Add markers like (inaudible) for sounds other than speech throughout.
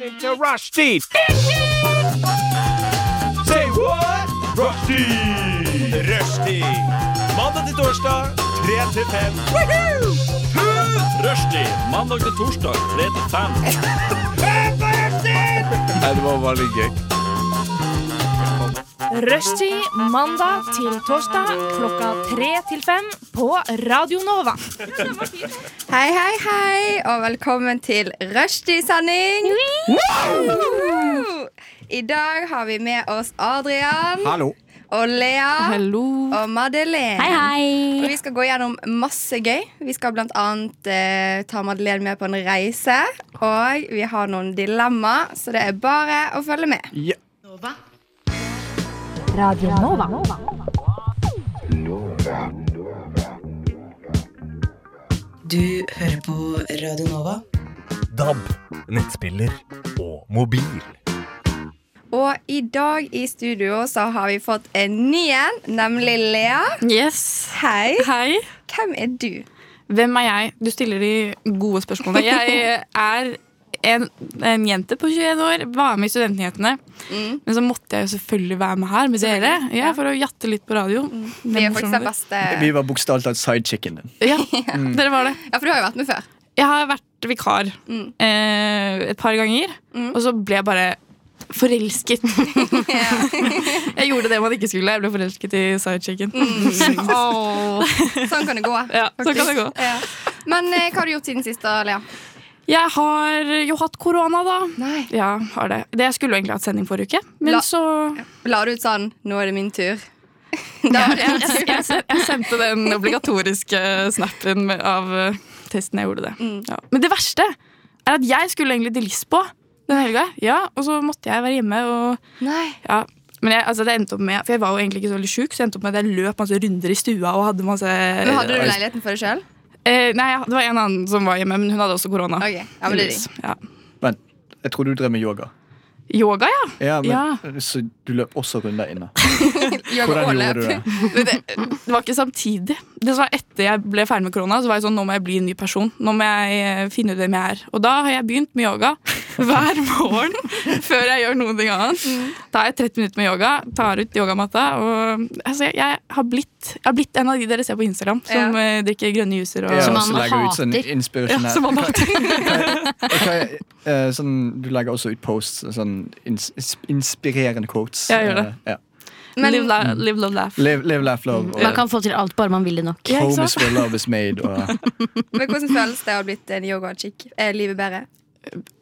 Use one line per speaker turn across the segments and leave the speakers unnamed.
into rushtid. Say what? Rushtid! Rushtid. Mandag til torsdag, 3 til 5. Rushtid. Mandag til torsdag, 3 til 5.
(laughs) Nei, det var veldig gøy.
Rushtid mandag til torsdag klokka tre til fem på Radio Nova.
Hei, hei, hei, og velkommen til Rushdie-sending. Woo! I dag har vi med oss Adrian
Hallo.
og Lea
Hallo.
og Madeleine.
Hei,
Og
hei.
vi skal gå gjennom masse gøy. Vi skal blant annet eh, ta Madeleine med på en reise. Og vi har noen dilemma, så det er bare å følge med.
Ja.
Du hører på Radio Nova.
DAB, nettspiller og mobil.
Og i dag i studio så har vi fått en ny en, nemlig Lea.
Yes.
Hei.
Hei.
Hvem er du?
Hvem er jeg? Du stiller de gode spørsmålene. Jeg er en, en jente på 21 år, var med i Studentnyhetene. Men så måtte jeg jo selvfølgelig være med her med dere Mm. ja, for å jatte litt på radio. Det
Vi
er
er faktisk
morsomt.
den beste
Vi var bokstavelig talt sidechicken din.
(laughs) Ja, dere var det.
Ja, for du har jo vært med før.
Jeg har vært vikar eh, et par ganger, og så ble jeg bare forelsket. (laughs) jeg gjorde det man ikke skulle. Jeg ble forelsket i sidechicken. Mm. (laughs)
Sånn kan det gå.
Ja, sånn
faktisk.
kan det gå.
Ja. Men eh, hva har du gjort siden sist, da, Lea?
Jeg har jo hatt korona, da.
Nei.
Ja, har det. det Jeg skulle jo egentlig hatt sending forrige uke, men
La-
så
La du ut sånn 'Nå er det min tur'? (laughs)
ja, jeg, jeg, jeg, sen- jeg sendte den obligatoriske snappen med, av eh, testen. Jeg gjorde det. Ja. Mm. Men det verste er at jeg skulle egentlig til Lisboa den helga, ja, og så måtte jeg være hjemme. og
Nei.
ja men jeg, altså det endte opp med, for jeg var jo egentlig ikke så veldig sjuk, så det endte opp med at jeg løp masse runder i stua. og hadde masse...
Men Hadde du leiligheten for deg sjøl?
Eh, nei, ja, Det var en annen som var hjemme, men hun hadde også korona.
Ok, ja, men det er digg.
ja.
Vent, jeg tror du drev med yoga.
Yoga, ja.
Ja, men,
Ja.
Så du løp også runder
(laughs)
inne.
Yoga
Hvordan
og
gjorde
løp.
du det?
Men det, det var ikke samtidig. Det som var Etter jeg ble ferdig med korona, Så var jeg sånn, nå må jeg bli en ny person. Nå må jeg eh, finne ut hvem jeg er. Og da har jeg begynt med
(laughs)
yoga hver morgen før jeg gjør noe annet.
Mm.
Da er jeg 30 minutter med yoga, tar ut yogamatta. Og, altså, jeg, jeg, har blitt, jeg har blitt en av de dere ser på Instagram som
Ja.
eh, drikker grønne juicer. Og,
Ja,
som,
og
man,
så
man
legger du ut sånn
hater.
ja,
inspirasjonell
som man hater.
Ok, eh, sånn, Du legger også ut posts, sånn ins ins- inspirerende quotes.
Ja, jeg gjør det.
Eh, ja.
Men
live, la, live, love, laugh.
Live, live, laugh, love. Og
Man kan få til alt, bare man vil det nok.
Ja, ikke
Home is
Mm. sant?
where love is made.
(laughs)
Og,
(laughs) men hvordan føles det å ha blitt en yogachick? Er livet bedre?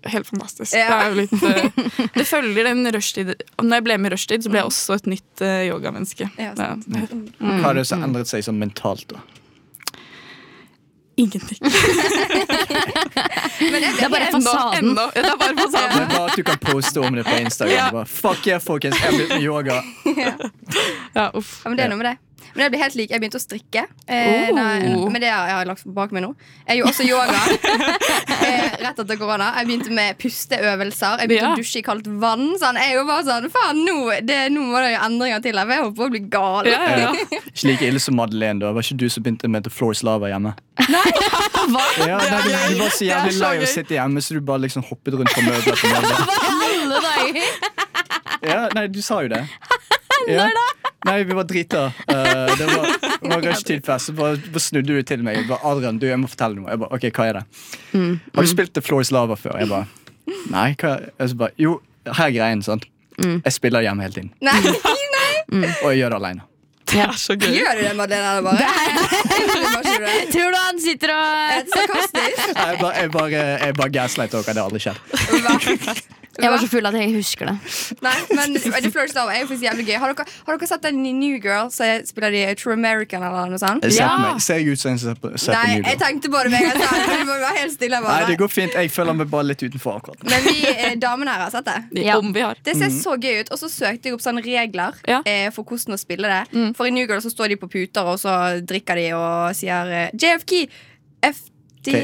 Helt fantastisk.
Ja.
Det, er jo litt,
(laughs)
eh, det følger den rushtid. Når jeg ble med i rushtid, så ble jeg også et nytt eh, yogamenneske.
Mm. Ja, sant.
Ja.
hva har det som har endret seg sånn mentalt? da?
Ingenting.
Men jeg,
Det er bare fasaden.
Enda, enda, det er bare
(laughs)
fasaden.
Det er bare at du kan poste om det på Instagram.
Ja.
Bare, Fuck yeah, folkens, jeg har blitt med yoga.
Ja, uff.
Ja, men det er noe med det. Men jeg ble helt lik. Jeg begynte å strikke. Eh,
Oh.
nei, men det har jeg lagt bak meg nå. Jeg gjorde også yoga (laughs) eh, rett etter korona. Jeg begynte med pusteøvelser. Jeg begynte
Ja.
å dusje i kaldt vann. Sånn. Jeg var bare sånn Faen, nå, det, nå må det jo endringer til her. for Jeg holdt på å bli gal.
Ja, ja, ja.
Eh, Ikke like ille som Madeleine. da Var ikke du som begynte med The Floors Lava hjemme? Nei, ja, nei du, du var så
Det er
jævlig
så
lei av
gøy.
å sitte hjemme, så du bare liksom hoppet rundt fra møbler til møbler. Ja, nei, du sa jo (laughs) det. Ja. Nei, vi var drita. Eh, det var, det var rushtidfest. Så bare, bare snudde du til meg. Jeg bare, Adrian, du, jeg må fortelle noe. Jeg bare, ok, hva er det? Har du spilt The Floors Lava før? Jeg bare, nei. Hva? Jeg så bare, jo, her er greien, sant? Jeg spiller hjemme hele tiden.
Nei, nei.
Og jeg gjør det alene.
Det er så gøy.
Gjør du det, Madeleine? Eller bare? (laughs) Egentlig bare ikke du det.
Tror du han sitter og
Et
(laughs)
Sarkastisk.
Jeg bare, jeg bare, jeg bare gaslighter dere. Det har aldri skjedd.
Jeg var så full at jeg husker det.
Nei, men The Flirts Love er jo faktisk jævlig gøy. Har dere, har dere sett den i New Girl, så jeg spiller de eh, True American eller noe sånt?
Jeg ser,
Ja.
på meg. ser jeg ut som en som ser på, ser på
Nei,
New
jeg
Girl?
tenkte på det med en gang. så Du må være helt stille.
Nei,
Bare.
det går fint. Jeg føler meg bare litt utenfor akkurat.
Men vi eh, damene her har sett det.
Det-
Ja.
Om vi har.
Det ser så gøy ut. Og så søkte jeg opp sånne regler
Ja.
eh, for hvordan å spille det. For i New Girl så står de på puter, og så drikker de og sier eh, JFK, FD, (laughs)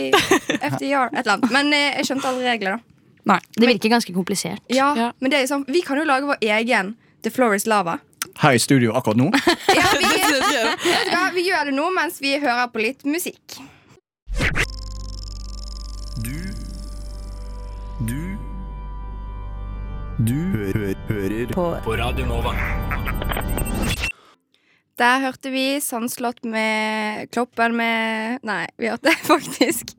FDR, et eller annet. Men eh, jeg skjønte alle regler, da.
Nei.
Det virker ganske komplisert.
Ja,
Ja.
Men det er jo sånn, vi kan jo lage vår egen The Floor is Lava.
Her i studio akkurat nå.
Ja, vi, ja, vi gjør det nå mens vi hører på litt musikk.
Du Du Du hører på. Radio Nova.
Der hørte vi Sandslott med Kloppen med Nei, vi hørte (laughs) faktisk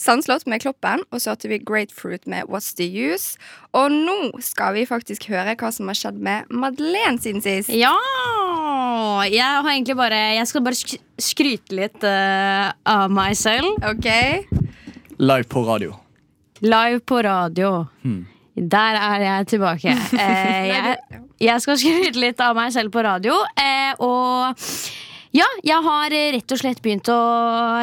Sandslott med Kloppen, og så hørte vi Grapefruit med What's The Use. Og nå skal vi faktisk høre hva som har skjedd med Madeleine siden sist.
Ja! Jeg har egentlig bare Jeg skal bare sk skryte litt eh, av meg selv.
OK?
Live på radio.
Live på radio.
Hmm.
Der er jeg (laughs) tilbake. Eh, jeg, jeg skal skryte litt av meg selv på radio. Eh, og ja, jeg har eh, rett og slett begynt å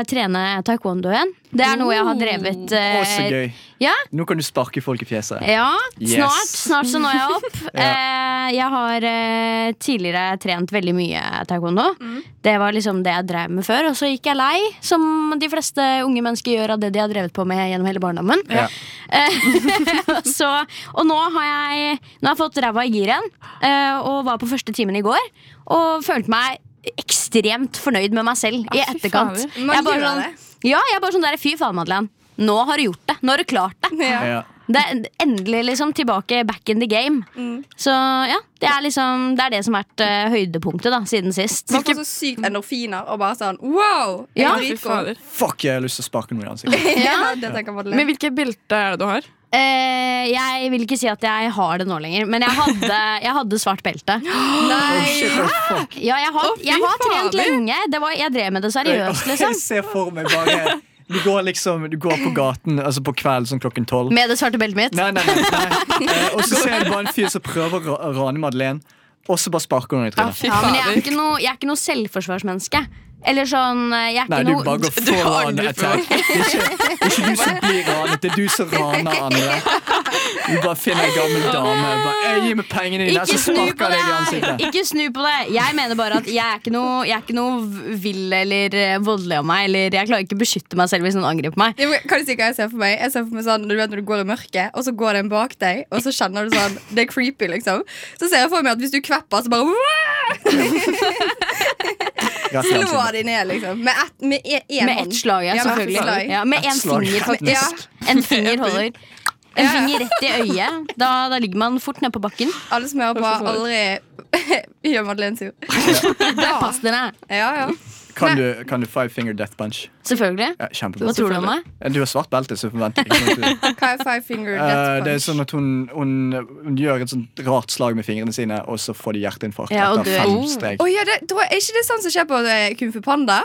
trene taekwondo igjen. Det er noe jeg har drevet
Oh. Å, så
eh,
gøy.
ja,
Nå kan du sparke folk i fjeset.
ja,
Yes.
snart, snart så når jeg opp.
Ja.
eh, jeg har eh, tidligere trent veldig mye taekwondo. Det var liksom det jeg drev med før. Og så gikk jeg lei, som de fleste unge mennesker gjør av det de har drevet på med gjennom hele barndommen.
Ja.
Eh, (laughs) så, og nå har jeg, nå har jeg fått ræva i gir igjen, eh, og var på første timen i går. Og følte meg ekstremt fornøyd med meg selv i
fy
etterkant.
fader.
Man
Jeg er bare
gjør
sånn,
det.
ja, jeg er bare sånn der, Fy faen, Madeleine. Nå har du gjort det. Nå har du klart det.
Ja.
Det er endelig liksom tilbake back in the game.
Mm.
Så ja, det er liksom Det er det som har vært eh, høydepunktet da, siden sist.
Man får så sykt endorfiner og bare sånn wow! Jeg
Ja.
er
Fy
dritgod.
fader.
Fuck, jeg har lyst til å sparke noen i ansiktet.
(laughs) Ja, det tenker Madeleine.
Men hvilke belter er det du har?
Eh, jeg vil ikke si at jeg har det nå lenger, men jeg hadde, jeg hadde svart belte.
(gasps)
Shit, oh, fuck.
Ja, jeg har,
fy
jeg har trent
fader.
lenge. Det var, jeg drev med det (laughs) seriøst,
(laughs)
liksom.
Jeg ser for meg bare Du går liksom, du går på gaten altså på kvelden sånn klokken tolv.
Med det svarte beltet mitt.
Nei, nei, nei, nei. Eh, Og så ser du bare en fyr som prøver å ra- rane Madeleine, og så bare sparker hun henne i trynet.
Ja, men jeg er ikke noe, jeg er ikke noe selvforsvarsmenneske. Eller sånn eh, Jeg er
Nei,
ikke
du
noe
bare går for ran attack. Det er ikke, det er ikke du som blir ranet, det er du som raner andre. Du bare finner en gammel dame bare, «Ei, Gi meg pengene dine,
Ikke
så
snu på
sparker jeg deg i
det!
ansiktet.
Ikke snu på det Jeg mener bare at jeg er ikke noe, jeg er ikke noe v- vill eller eh, voldelig av meg. Eller jeg klarer ikke å beskytte meg selv hvis noen angriper meg.
Ja, men Kan du si hva jeg ser for meg? Jeg ser for meg sånn, du vet Når du går i mørket, og så går det en bak deg, og så kjenner du sånn Det er creepy, liksom. Så ser jeg for meg at hvis du kvepper, så bare wow,
Rett i
slår
ansiktet.
de ned, liksom. Med ett med e- en
Med ett
hånd.
slag, ja,
Ja, med ett
selvfølgelig.
slag.
Ja, med
Ett
én
slag.
finger,
Ja.
faktisk. En finger holder. En
Ja, ja.
finger rett i øyet. Da, da ligger man fort nede på bakken.
Alle som hører på, har aldri (laughs) gjør Madeleine sur.
Pass dere.
Ja, ja.
Kan du, kan du five finger death punch?
Selvfølgelig.
Ja, kjempebra.
Hva tror du om meg?
Eh, Du har svart belte, så forventer jeg ikke noe.
Hva er five finger
Eh,
death
det er
punch?
sånn at hun, hun, hun gjør et sånt rart slag med fingrene sine, og så får de hjerteinfarkt
Ja, og
etter
dør.
fem strek.
Å ja, det, tror jeg- er ikke det sånn som skjer på eh, Kung Fu Panda?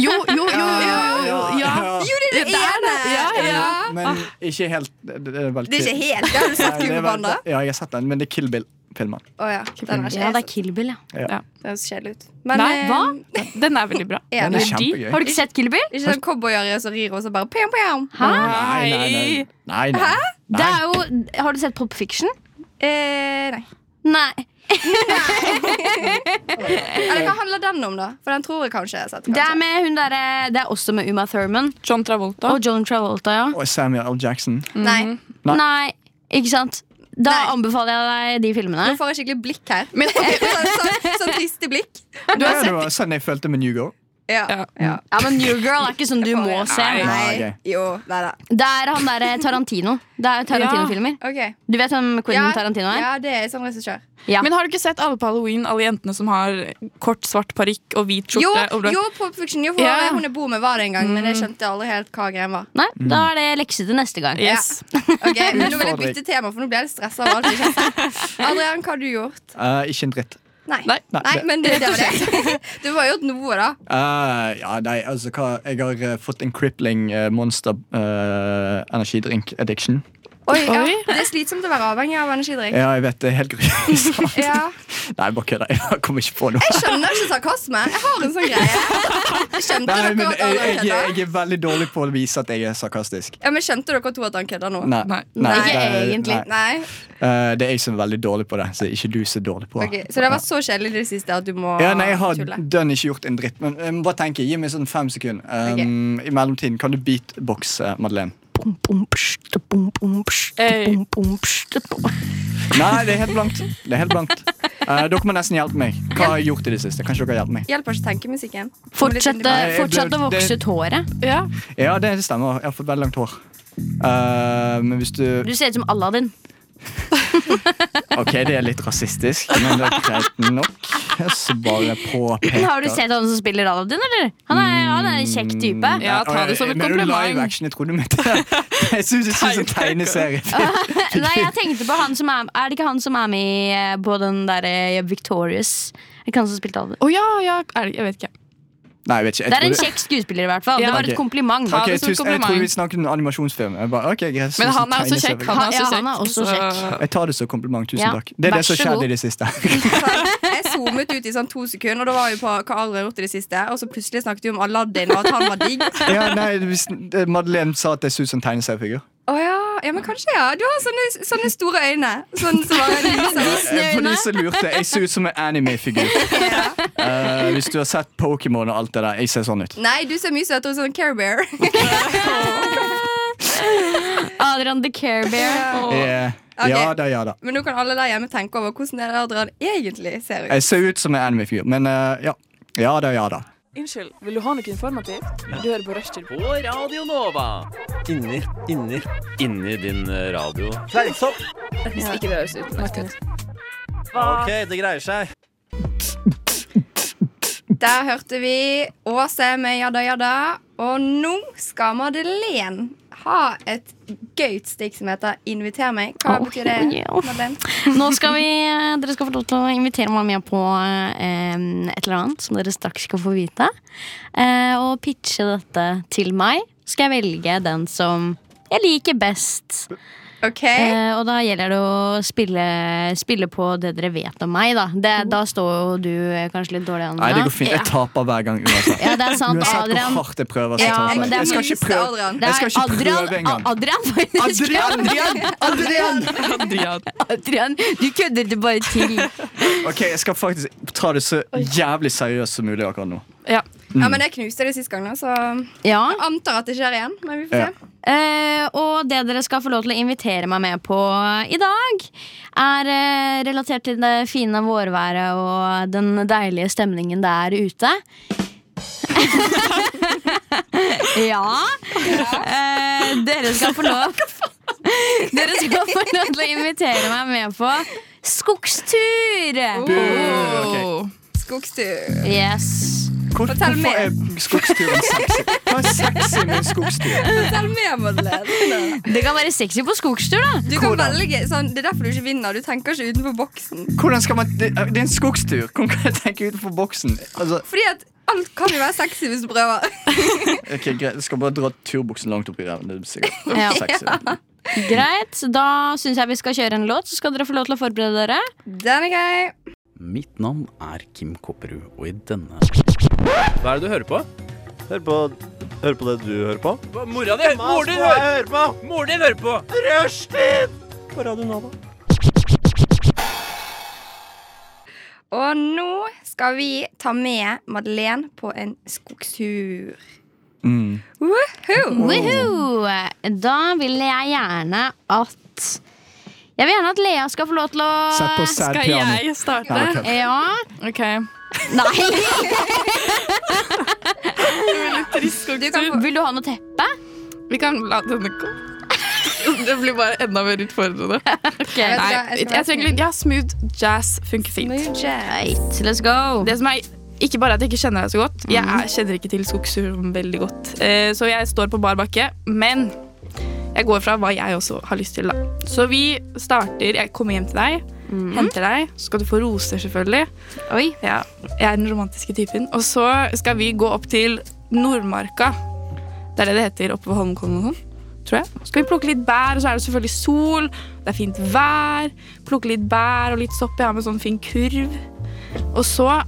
Jo, jo, jo, jo, jo, ja.
Jo, det er det ene!
Ja, ja.
Men ikke helt Det, det er vel
Det er
Kill-
ikke helt det. Har du sett
Nei, det
Kung
er
Fu
vel-
Panda?
Ja, jeg har sett den, men det er Kill Bill-filmen.
Å ja. Den er ikke
Ja, det er
helt
Kill Bill, ja.
Det høres kjedelig ut. Men
Nei,
eh,
hva? Den er veldig bra.
Ja,
Den er
men
kjempegøy.
Har du ikke sett Kill Bill?
Ikke sånn cowboyere som rir og så bare pjam, pjam.
Nei, nei, nei. nei, nei.
Det
nei.
er jo, har du sett Pop Fiction?
Eh, nei.
Nei.
Eller hva handler den om, da? For den tror jeg kanskje jeg har sett.
Det er,
altså.
Kanskje.
med hun derre- det er også med Uma Thurman.
John Travolta. Mhm.
Og John Travolta, ja.
Og Samuel L. Jackson.
Nei,
Nei.
Nei, ikke sant? Da
Nei.
anbefaler jeg deg de filmene.
Nå får jeg skikkelig blikk her. (laughs) sånn, sånn, sånn triste blikk.
Du har sett det var sånn jeg følte med New Girl.
Ja.
Ja.
ja.
Ja, men New Girl er ikke sånn du må
Nei.
se.
Nei.
Nei.
Ah, ok.
Jo, nei da.
Det er han derre Tarantino. Det er jo Tarantino-filmer.
Ok.
Du vet hvem Quentin Tarantino eh? er?
ja, det er sånn regissør.
Ja.
Men har du ikke sett alle på halloween, alle jentene som har kort, svart parykk og hvit
Jo,
eh,
skjorte? og blå-
jo, Pop Fiction. Jo, for
Ja.
Hun er bo med var det en gang, men
Mm.
jeg skjønte aldri helt hva greia var.
Nei,
Mm.
da er det lekse til neste gang.
Yes.
Ok, men Nå vil jeg
Utfordring.
bytte tema, for nå blir jeg litt stressa. av alt jeg ikke har
(laughs)
sett. Adrian, hva har du gjort?
Eh, ikke en dritt.
Nei.
Nei.
Nei,
det-
men det, det var det. Du har gjort noe, da.
Eh, ja, nei, altså hva Jeg har eh, fått en crippling eh, monster eh, energidrink addiction.
Oi, ja.
Oi.
Det er slitsomt å være avhengig av energidrikk.
Ja, jeg vet det er helt (laughs) grusomt.
Ja.
Nei, bare kødder. Jeg kommer ikke på noe.
Jeg skjønner ikke sarkasme. Jeg har en sånn greie. Jeg skjønte
Nei,
dere
men
at
jeg,
Adrian
jeg,
kødder.
jeg er veldig dårlig på å vise at jeg er sarkastisk.
Ja, men Skjønte dere to at han kødda nå?
Nei,
Nei.
Ikke
det er-
egentlig.
nei.
Nei?
Eh, det er jeg som er veldig dårlig på det, så ikke du som er dårlig på
Ok, Så det har vært så kjedelig i det siste at du må
Ja, nei, Jeg har
tulle?
dønn ikke gjort en dritt, men jeg må bare tenke, gi meg sånn fem sekunder. Um, I mellomtiden kan du beatboxe, eh, Madeleine.
Bom, bom, pst, bom, bom, pst,
Eh.
bom, bom, pst, bom.
Nei, det er helt blankt. Det er helt
(laughs)
blankt. Eh, dere må nesten hjelpe meg. Hva har jeg gjort i det siste? Kanskje dere hjelper meg?
Hjelper ikke tenkemusikken.
Fortsett
Nei, jeg
fortsett
ble-
å vokse
det-
ut håret.
Ja.
Ja, det, det stemmer. Jeg har fått veldig langt hår. Eh, men hvis du
Du ser ut som Aladdin.
Ok, det er litt rasistisk, men det er greit nok. Så bare påpeker
Har du sett han som spiller Aladdin, eller? Han er,
Mm.
han er en kjekk type.
Ja, ta det som et
Men er du
kompliment.
Live action, jeg trodde du mente Jeg syns det er
(laughs)
en tegneserie.
Ah.
Nei, jeg tenkte på han som er Er det ikke han som er med i, eh, på den derre Victorious? Er det ikke han som spilte Aladdin?
Å ja, ja er det, jeg vet ikke.
Nei, jeg vet ikke. Jeg
Det er en
trodde-
kjekk skuesspiller, i hvert fall.
Ja.
Det var et
Ok.
kompliment.
Ta
Ok,
det som et
tusen- jeg trodde vi
kompliment.
snakket om animasjonsfilm. Jeg bare, ok, greit,
Men
jeg synes
han
det
er også
tegneserie.
kjekk. Han er også
Ja,
kjekk.
han er
så-
også kjekk.
Jeg tar det som kompliment. Tusen
Ja,
takk. Det er
vær
det som
så
skjedde
god.
i det siste. (laughs)
Jeg zoomet ut i sånn to sekunder, og da var vi på hva alle har gjort i det siste. Og så plutselig snakket vi om Aladdin og at han var digg. Å
ja, nei, hvis- eh, Madeleine sa at jeg så ut som en tegneseriefigur.
ja, ja, men kanskje, ja. Du har sånne, sånne store øyne. Sånn som
(laughs)
bare lyser.
Eh, For de som lurte, jeg ser ut som en
(laughs)
anime-figur. Eh, hvis du har sett Pokémon og alt det der, jeg ser sånn ut.
Nei, du ser mye søtere ut som en Care Bear. (laughs)
Adrian the Carebear.
Eh, Ja da, ja da.
Men nå kan alle der hjemme tenke over hvordan det er Adrian egentlig ser ut.
Jeg ser ut som en anime-figur, men eh, ja. Ja da, ja da.
Unnskyld, vil du ha noe informativt? Du hører på Rushtid.
På Radio Nova. Inni, inni, inni din eh, radio. Fleinsopp!
Hvis ikke det høres ut. Martin.
Ok, det greier seg.
Der hørte vi Åse med Jadda Jadda. Og nå skal Madeleine ha et gøyt stikk som heter Inviter meg. Hva
Åh,
betyr det,
ja.
Madeleine?
Nå skal vi, eh, Dere skal få lov til å invitere meg med på eh, et eller annet som dere straks skal få vite. Eh, og pitche dette til meg. Skal jeg velge den som jeg liker best.
OK.
Eh, og da gjelder det å spille, spille på det dere vet om meg, da. Det, da står jo du eh, kanskje litt dårlig an.
Nei, det
da.
går fint. Jeg taper hver gang uansett.
Ja, det er sant.
Uansett hvor
Adrian.
hardt jeg prøver, så
Ja,
taper
men
jeg.
det er
Jeg skal
mye
ikke prøve,
Adrian.
Det
jeg
er
skal ikke
Adrian-
prøve engang.
Adrian, faktisk. (laughs)
Adrian! Adrian!
Adrian.
Adrian, du kødder det bare til.
Ok, Jeg skal faktisk ta det så jævlig seriøst som mulig
Oh.
akkurat nå.
Ja.
mm.
Ja, men jeg knuste det sist gang, da, så
Ja.
jeg antar at det skjer igjen. Men vi får
Ja.
se.
Eh, og det dere skal få lov til å invitere meg med på i dag, er eh, relatert til det fine vårværet og den deilige stemningen det er ute. (laughs) ja. Eh, dere skal få lov (laughs) Dere skal få lov til å invitere meg med på skogstur.
Bu,
Åh.
Skogstur.
Yes.
Hvor,
Fortell
hvorfor er skogsturen sexy? Hva er sexy med en skogstur?
Fortell mer,
(laughs)
Madeleine.
Det kan være sexy på skogstur, da.
Du kan velge, sånn, det er derfor du ikke vinner. Du tenker ikke utenfor boksen.
Hvordan skal man, det, det er en skogstur. Hvordan kan jeg tenke utenfor boksen? Altså,
Fordi at alt kan jo være sexy hvis du prøver.
ok, greit, Jeg skal bare dra turbuksen langt opp i ræven. Det er sikkert
Ja.
sexy.
Greit, Da syns jeg vi skal kjøre en låt, så skal dere få lov til å forberede dere.
Den er grei.
Mitt navn er Kim Kopperud, og i denne Hva er det du hører på?
Hør på, hør på det du hører på.
Mora di! Moren din hører,
på!
moren din hører på!
På Radio Nova.
Og nå skal vi ta med Madeleine på en skogstur.
Mm.
Woohoo!
Woohoo! Da vil jeg gjerne at Jeg vil gjerne at Lea skal få lov til å
Sett på sad
Skal
piano.
jeg starte?
Ja, ok.
Ja.
Ok. Det
Nei!
blir litt trist og
Du kan få-
Vil du ha noe teppe?
Vi kan la denne gå. Det blir bare enda mer utfordrende.
Jeg
Nei,
skal- jeg skal
jeg
være
trenger litt Ja, smooth jazz funker fint.
Smooth jazz.
Right, let's go.
Det som er ikke bare at jeg ikke kjenner deg så godt,
Mm.
jeg er, kjenner ikke til skogshulen veldig godt. Eh, Så jeg står på bar bakke, men jeg går fra hva jeg også har lyst til, da. Så vi starter Jeg kommer hjem til deg,
Mm.
henter deg, så skal du få roser, selvfølgelig.
Oi.
Ja, jeg er den romantiske typen. Og så skal vi gå opp til Nordmarka. Det er det det heter oppe ved Holmenkollen og sånn. Tror jeg. Så skal vi plukke litt bær, og så er det selvfølgelig sol. Det er fint vær. Plukke litt bær og litt sopp. Jeg har med sånn fin kurv. Og så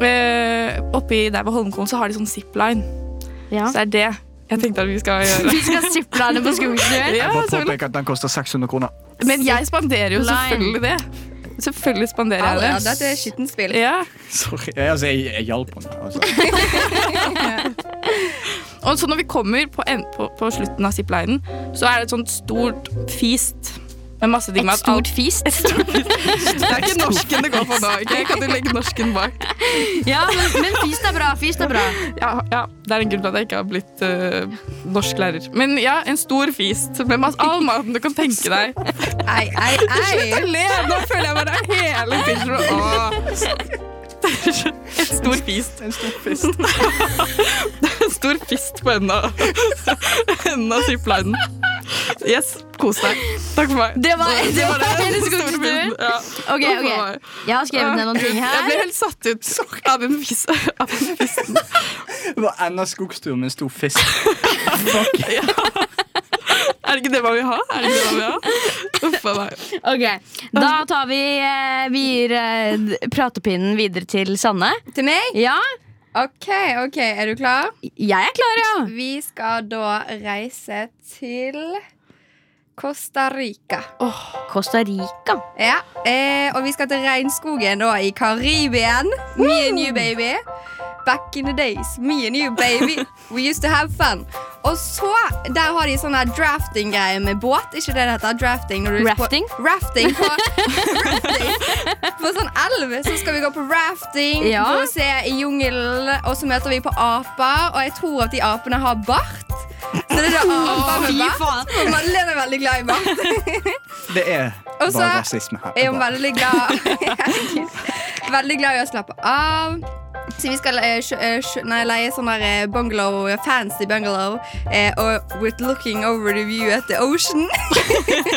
eh, oppi der ved Holmenkollen så har de sånn zipline.
Ja.
Så det er det jeg tenkte at vi skal gjøre.
(laughs) Vi skal zipline på skogstur.
(laughs) Ja,
Jeg bare
selvfølgelig.
påpeker at den koster 600 kroner.
Men jeg spanderer jo
Zipline.
selvfølgelig det. Selvfølgelig spanderer
Ja,
jeg det.
dette er skittent spill.
Ja.
Sorry. Jeg, altså, jeg, jeg hjalp henne. Altså.
Og så når vi kommer på, en, på, på slutten av ziplinen, så er det et sånt stort fist. Med masse digg
Et
mat. Alt-
stort fist.
Det er ikke norsken det går på nå. ok? Kan du legge norsken bak?
Ja, men, men fist er bra. Fist er bra.
Ja, ja, Det er en grunn til at jeg ikke har blitt eh, norsklærer. Men ja, en stor fist med masse, all maten du kan tenke deg.
Ei, ei,
Slutt å
(laughs) ei.
le! Nå føler jeg bare hele picturen. Åh. (laughs) En stor fist. En stor fist. Det er en (laughs) stor fist på enden av- (laughs) enden av ziplinen. Yes, kos deg. Takk for meg.
Det var- det var hele
den store
skogen.
fisten. Ja. Takk for
Ok, ok.
meg.
Jeg har skrevet ned noen ting
Jeg ble
her.
helt satt ut av den, fis, av den fisten.
Det var enda skogstur med en stor fisk.
Er det ikke det man vil ha? Er det ikke det man vil (laughs) ha? Uff a meg.
Ok, Da tar vi eh, Vi gir eh, d- pratepinnen videre til Sanne.
Til meg?
Ja,
OK, ok, er du klar?
jeg er klar, ja.
Vi skal da reise til Costa Rica.
Costa Rica.
Ja, eh, Og vi skal til regnskogen da i Karibien. Me and you, baby. Back in the days. Me and you, baby. We used to have fun. Og så, Der har de sånn her drafting-greie med båt. Ikke det det heter? Drafting. Når du
Rafting?
På, rafting
(laughs)
på, rafting. på sånn elv så skal vi gå på rafting
Ja.
gå og se i jungelen. Og så møter vi på aper, og jeg tror at de apene har bart. Så det er da aper med bart. Og Madeleine er veldig glad i bart.
Det er
Og så
bare rasisme her.
Jeg er jo veldig glad (laughs) Veldig glad i å slappe av. Så vi skal eh, kjø- eh, kjø- nei, leie sånn der eh, bungalow, fancy bungalow eh, og with looking over the view at the ocean. (laughs)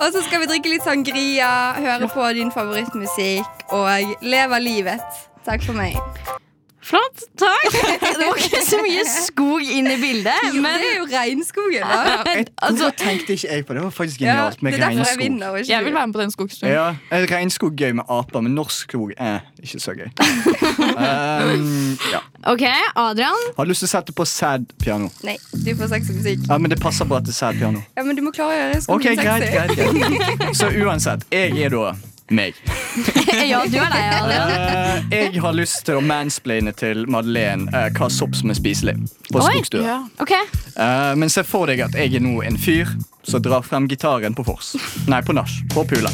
og så skal vi drikke litt sangria, høre på din favorittmusikk og leve livet. Takk for meg.
Flott. Takk. (laughs) Det var ikke så mye skog inn i bildet,
Jo,
men altså,
det er jo regnskogen, da.
Jeg, da tenkte ikke jeg på det. Det var faktisk
Ja,
genialt
det
med
er derfor jeg
regnskog.
vinner. og ikke
Jeg
du.
vil være med på den skogsturen.
Ja, eh, Regnskog gøy med aper, men norsk skog eh, ikke så
(laughs)
gøy. Um, ja.
OK, Adrian.
Har du lyst til å sette på sad piano.
Nei, du får sex og musikk.
Ja, men det passer bra til sad piano.
Ja, Men du må klare å gjøre skogen
Ok, greit,
sexy.
greit, greit. Så uansett, jeg er da meg.
Ja, du er deg, Adrian.
Eh, jeg har lyst til å mansplaine til Madeleine eh, hva sopp som er spiselig på
Oi,
skogstua.
ja.
Ok,
Eh, men se for deg at jeg er nå en fyr som drar frem gitaren på vors. Nei, på nach. På pula.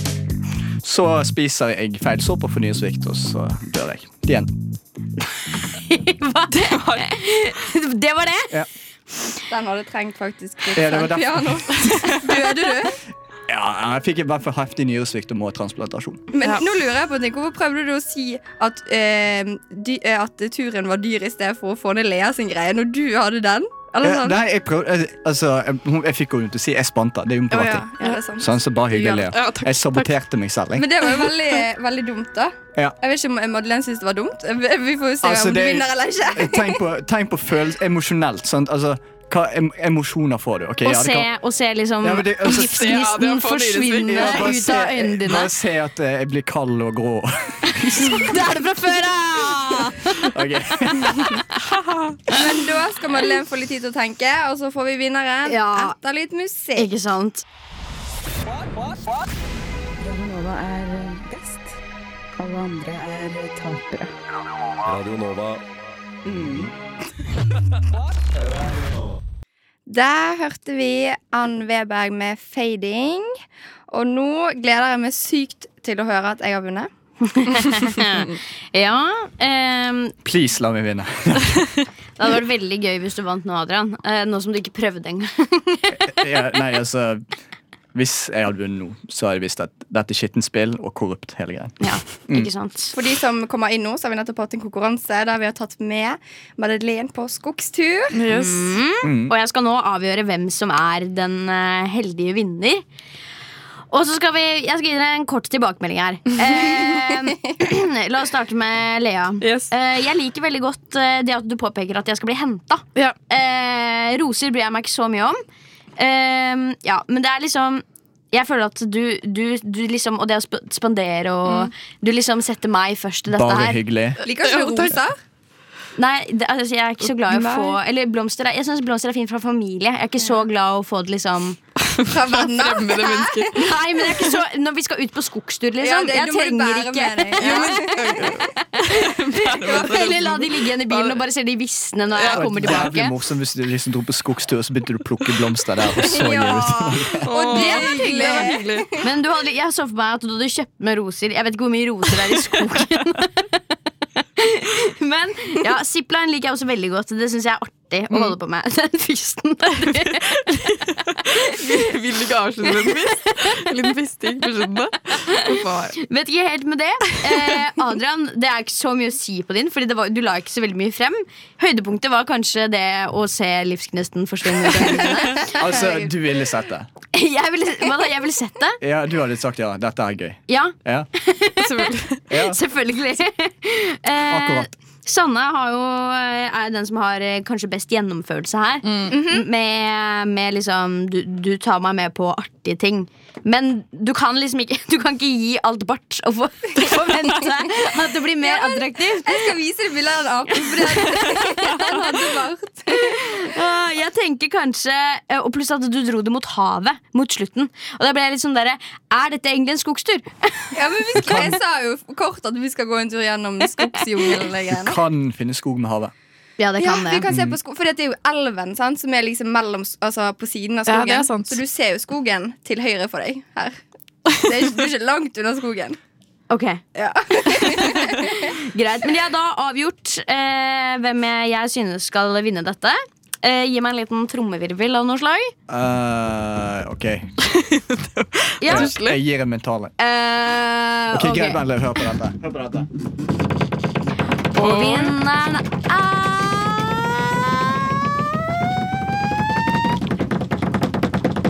Så spiser jeg feil sopp og får nyresvikt, og så dør jeg. Igjen.
Hva? Det var det. Var det.
Den hadde trengt faktisk litt
Ja, det var
sad piano.
(laughs)
Døde du?
Ja, jeg fikk i hvert fall heftig nyresvikt og må ha transplantasjon.
Men
Ja.
nå lurer jeg på en ting. Hvorfor prøvde du å si at, eh, dy, eh, at turen var dyr i stedet for å få ned Lea sin greie, når du hadde den? Eller
Eh,
sånn?
nei, jeg prøvde eh, Altså, jeg, hun- jeg fikk henne til å si 'jeg spanta'. Det er jo en
Ja,
privatting.
ja.
Ja, det er sant.
Sånn, så bare hyggelig. Lea.
Ja, takk,
Jeg saboterte meg selv. Jeg.
Men det var jo veldig, veldig dumt, da.
Ja.
Jeg vet ikke om Madeleine syns det var dumt. Vi vi får jo se
Altså,
om du
det-
vinner eller
(laughs)
ikke.
Tenk på, tenk på følelse, emosjonelt. Sant? Altså, hva em emosjoner får du? Okay,
Å
ja, det
se,
kan-
å se liksom
Ja, men det-
Ja, det
altså,
livsgnisten
var for
forsvinne
Ja, bare
ut av
se-
øynene dine.
Bare se at eh, jeg blir kald og grå.
(laughs) Det er det fra før av!
Ok.
Men da skal Madeleine få litt tid til å tenke, og så får vi vinneren
Ja.
etter litt musikk.
Ikke sant?
Radionova er eh, best. Alle andre er eh, tapere.
Radio Nova.
Der hørte vi Ann Weberg med 'Fading'. Og nå gleder jeg meg sykt til å høre at jeg har vunnet.
Ja. ehm,
Please, la meg vinne.
det hadde vært veldig gøy hvis du vant nå, Adrian. Eh, nå som du ikke prøvde engang. (laughs)
Ja, nei, altså Hvis jeg hadde vunnet nå, så hadde jeg visst at dette er skittent spill og korrupt. hele greien
Ja,
Mm.
ikke sant?
For de som kommer inn nå, så har vi nettopp hatt en konkurranse der vi har tatt med Madeleine på skogstur.
Yes. Mm.
Og jeg skal nå avgjøre hvem som er den eh, heldige vinner. Og så skal vi Jeg skal gi dere en kort
(laughs)
tilbakemelding her. Eh, (clears throat) la oss starte med Lea.
Yes.
Eh, jeg liker veldig godt eh, det at du påpeker at jeg skal bli henta.
Ja.
Eh, roser bryr jeg meg ikke så mye om. Eh, ja, men det er liksom jeg føler at du, du, du liksom Og det å sp- spandere
Mm.
og Du liksom setter meg først i dette
Bare
her.
hyggelig.
Liker ikke du roser?
Nei, det, altså, jeg er ikke så glad i å
Nei.
(laughs)
få Eller blomster er, Jeg syns blomster er fint fra familie. Jeg er ikke så glad i å få det liksom
Fra venner.
Fremmede (laughs) mennesker.
Nei, men det er ikke så Når vi skal ut på skogstur,
Ja,
liksom.
det,
Jeg
du må du
trenger
bære
ikke
med deg. Ja.
(laughs) Eller la de ligge igjen i bilen og bare se de visne når jeg kommer tilbake.
Jævlig morsomt hvis du liksom dro på skogstur og så begynte du å plukke blomster der.
(laughs)
Og så
(laughs) Ja.
gir du ut.
Og det var
Det var
hyggelig.
hyggelig.
Men du hadde, jeg så for meg at du hadde kjøpt med roser. Jeg vet ikke hvor mye roser det er i skogen. (laughs) Men ja, zipline liker jeg også veldig godt. Det syns jeg er artig
Mm.
å holde på med. (laughs) Den fysten.
Vil du ikke avslutte med en fist? En liten fisting på slutten.
Vet ikke helt med det. (laughs) Eh, Adrian, det er ikke så mye å si på din, Fordi det var, du la ikke så veldig mye frem. Høydepunktet var kanskje det å se livsgnesten forsvinne. ut av øynene dine.
Altså, du ville sett det.
(laughs) Jeg ville, hva da, jeg ville sett det.
Ja, du hadde sagt ja. Dette er gøy.
Ja,
Ja,
(laughs) Selvfølgelig.
ja.
selvfølgelig. (laughs) Eh,
Akkurat.
Sanne har jo, er den som har eh, kanskje best gjennomførelse her. Mhm. med, med liksom du, du tar meg med på artige ting. Men du kan liksom ikke (laughs) Du kan ikke gi alt bart og (laughs) for- forvente at det blir mer attraktivt.
Jeg skal vise deg bilder av en ape. For det han hadde bart.
Eh, Jeg tenker kanskje eh, Og pluss at du dro det mot havet mot slutten. Og da ble jeg litt sånn derre Er dette egentlig en skogstur?
Ja, men vi skal, jeg sa jo kort at vi skal gå en tur gjennom skogsjungelen. og
Du
greiene.
kan finne skog med havet.
Ja, det
Ja,
kan
vi
det.
kan se på skog, for det er jo elven sant, som er liksom mellom, altså, på siden av
Ja,
skogen.
det er sant.
Så du ser jo skogen til høyre for deg her. Det er ikke, du er ikke langt unna skogen.
Ok
Ja.
(laughs) Greit, men jeg har da avgjort eh, hvem jeg, jeg synes skal vinne dette. Eh, gi meg en liten trommevirvel av noe slag.
Eh, OK.
Ja.
Jeg, jeg gir en mental en.
Eh,
Ok,
ok.
Greit, Benle, hør på dette. Hør på dette.
Og vinneren er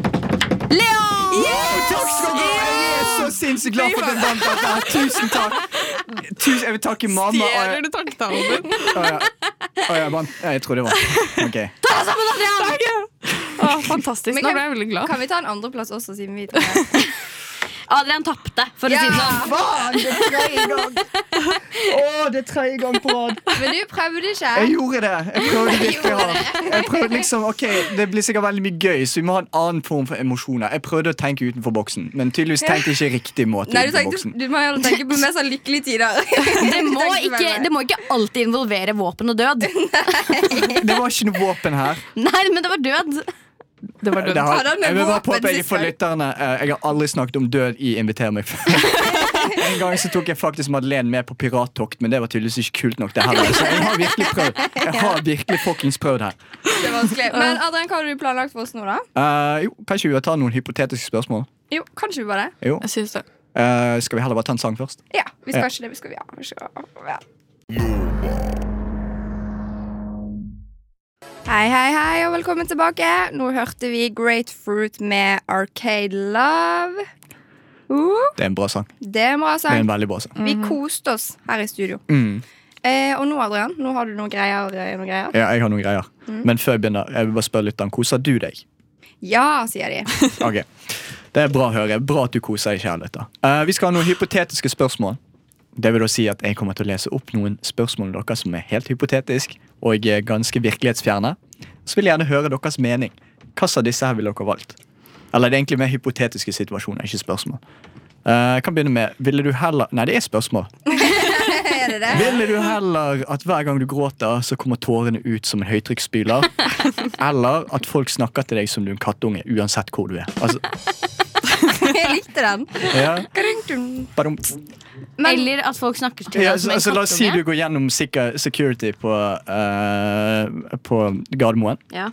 Leon!
Takk skal du ha! Jeg er så sinnssykt glad for at du vant dette. her. Tusen takk. Tusen, jeg vil takke mamma. og jeg-
Stjeler du tanktalen min?
og jeg- og jeg vant. Nei, Jeg tror det var OK.
Å, fantastisk.
Men
Nå
kan-
ble jeg veldig glad.
Kan vi ta en andreplass også, siden vi tar det?
Adrian tapte, for å si det sånn.
Faen, det er tredje gang! Å, det er tredje gang på rad.
Men du prøvde ikke.
Jeg gjorde det. Jeg prøvde virkelig hardt. Jeg prøvde liksom, ok, Det blir sikkert veldig mye gøy, så vi må ha en annen form for emosjoner. Jeg prøvde å tenke utenfor boksen, men tydeligvis tenkte jeg ikke riktig måte.
Nei, du,
utenfor
tenkte,
boksen
du må heller tenke på mer sånn lykkelige tider. (laughs)
(laughs) Det må,
tenkte
ikke,
bare-
det må ikke alltid involvere våpen og
(laughs)
død. (laughs)
Det var ikke noe våpen her.
Nei, men det var død.
Det var
Det
dødt.
har,
Har han med
jeg vil bare
våpen
påpeke
sist
for
gang?
lytterne eh, Jeg har aldri snakket om død i Inviter meg før. En gang så tok jeg faktisk Madeleine med på pirattokt, men det var tydeligvis ikke kult nok. det heller Så jeg har virkelig prøvd. Jeg har virkelig fuckings prøvd her.
Det er vanskelig. Men Adrian, hva har du planlagt for oss nå, da?
Eh, jo, Kanskje vi tar noen hypotetiske spørsmål?
Jo, Kanskje vi bare
Jo.
Jeg synes det.
Eh, skal vi heller bare ta en sang først?
Ja, vi skal ikke det. Vi skal, ja, vi skal, ja. Hei, hei, hei, og velkommen tilbake. Nå hørte vi Great Fruit med Arcade Love. Uh,
Det er en bra sang.
det altså- er en bra sang.
Det er en veldig bra sang.
Vi koste oss her i studio.
Mm.
Eh, og nå, Adrian, nå har du noen greier. eh, Noen greier.
Ja, jeg har noen greier. Men før jeg begynner, jeg vil bare spørre litt om koser du deg?
Ja, sier (laughs) de.
Ok, Det er bra å høre. Bra at du koser deg, kjærlighet. da. Eh, vi skal ha noen hypotetiske spørsmål. Det vil da si at Jeg kommer til å lese opp noen spørsmål om dere som er helt hypotetisk og eh, ganske virkelighetsfjerne. Så vil jeg gjerne høre deres mening. Hvilke av disse her ville dere valgt? Eller det er egentlig mer hypotetiske situasjoner, ikke spørsmål. Eh, jeg kan begynne med Ville du heller Nei, det er spørsmål.
Er det det?
Ville du heller at hver gang du gråter, så kommer tårene ut som en høytrykksspyler? Eller at folk snakker til deg som du er en kattunge, uansett hvor du er? Altså,
Jeg likte den.
ja,
Krung-krung.
badum.
Eller at folk snakker til
ja,
deg
altså,
som en
altså, la oss si du
kattunge.
går gjennom sikker- security på, eh, på Gardermoen,
Ja.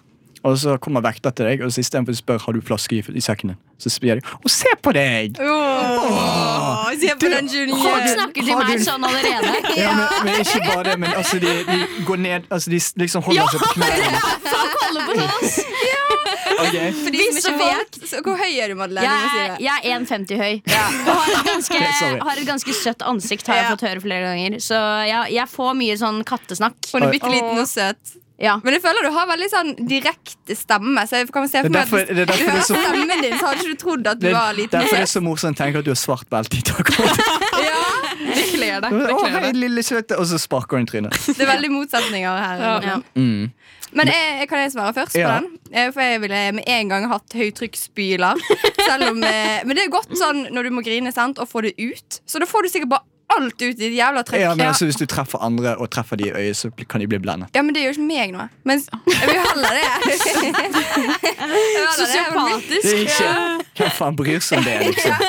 og så kommer vekter til deg, og så istedenfor å spørre har du flaske i, i sekken din, så sier de 'Å, se på deg!'
Åh, se på den
Folk
junior.
snakker til meg sånn
(laughs)
allerede. (laughs)
Ja, men, men ikke bare det, men altså, de, de går ned Altså, de s- liksom holder seg på knærne.
Alle på oss.
For
Ok.
de som
Hvis
ikke
folk-
vet, så hvor høy er du, Madeleine?
Jeg
må si
er,
det.
jeg er 1,50 høy.
(laughs)
(laughs) Og har et, ganske,
Ok, sorry.
har et ganske søtt ansikt, har jeg
Ja.
fått høre flere ganger. Så jeg, jeg får mye sånn kattesnakk.
Hun er bitte liten og søt.
Ja.
Men jeg føler du har veldig sånn direkte stemme. Så jeg kan se for
Det er
meg at
derfor,
hvis
det er
du
derfor det er
hører
så
stemmen din, så hadde ikke du trodd at du
Det,
var
derfor
liten.
er det så morsomt å tenke at du har svart belte i
(laughs)
taekwondo.
Ja,
Det kler deg. Det
Å,
kler
hei,
deg.
lille søte! Og så sparker hun
(laughs)
trynet.
Det er veldig motsetninger her.
Ja.
Mm.
Men jeg, kan jeg svare først
Ja.
på den? Eh, For jeg ville med en gang hatt høytrykksspyler. (laughs) Selv om, eh, men det er godt sånn når du må grine sant, og få det ut. Så da får du sikkert bare alt ut i et jævla trykk.
Ja, men altså, Hvis du treffer andre og treffer de i øyet, så bli- kan de bli blendet.
Ja, men det gjør ikke meg noe. Men jeg vil heller det. Jeg vil heller det. Jeg vil-
Det er ikke, Hvem faen bryr seg om det? liksom?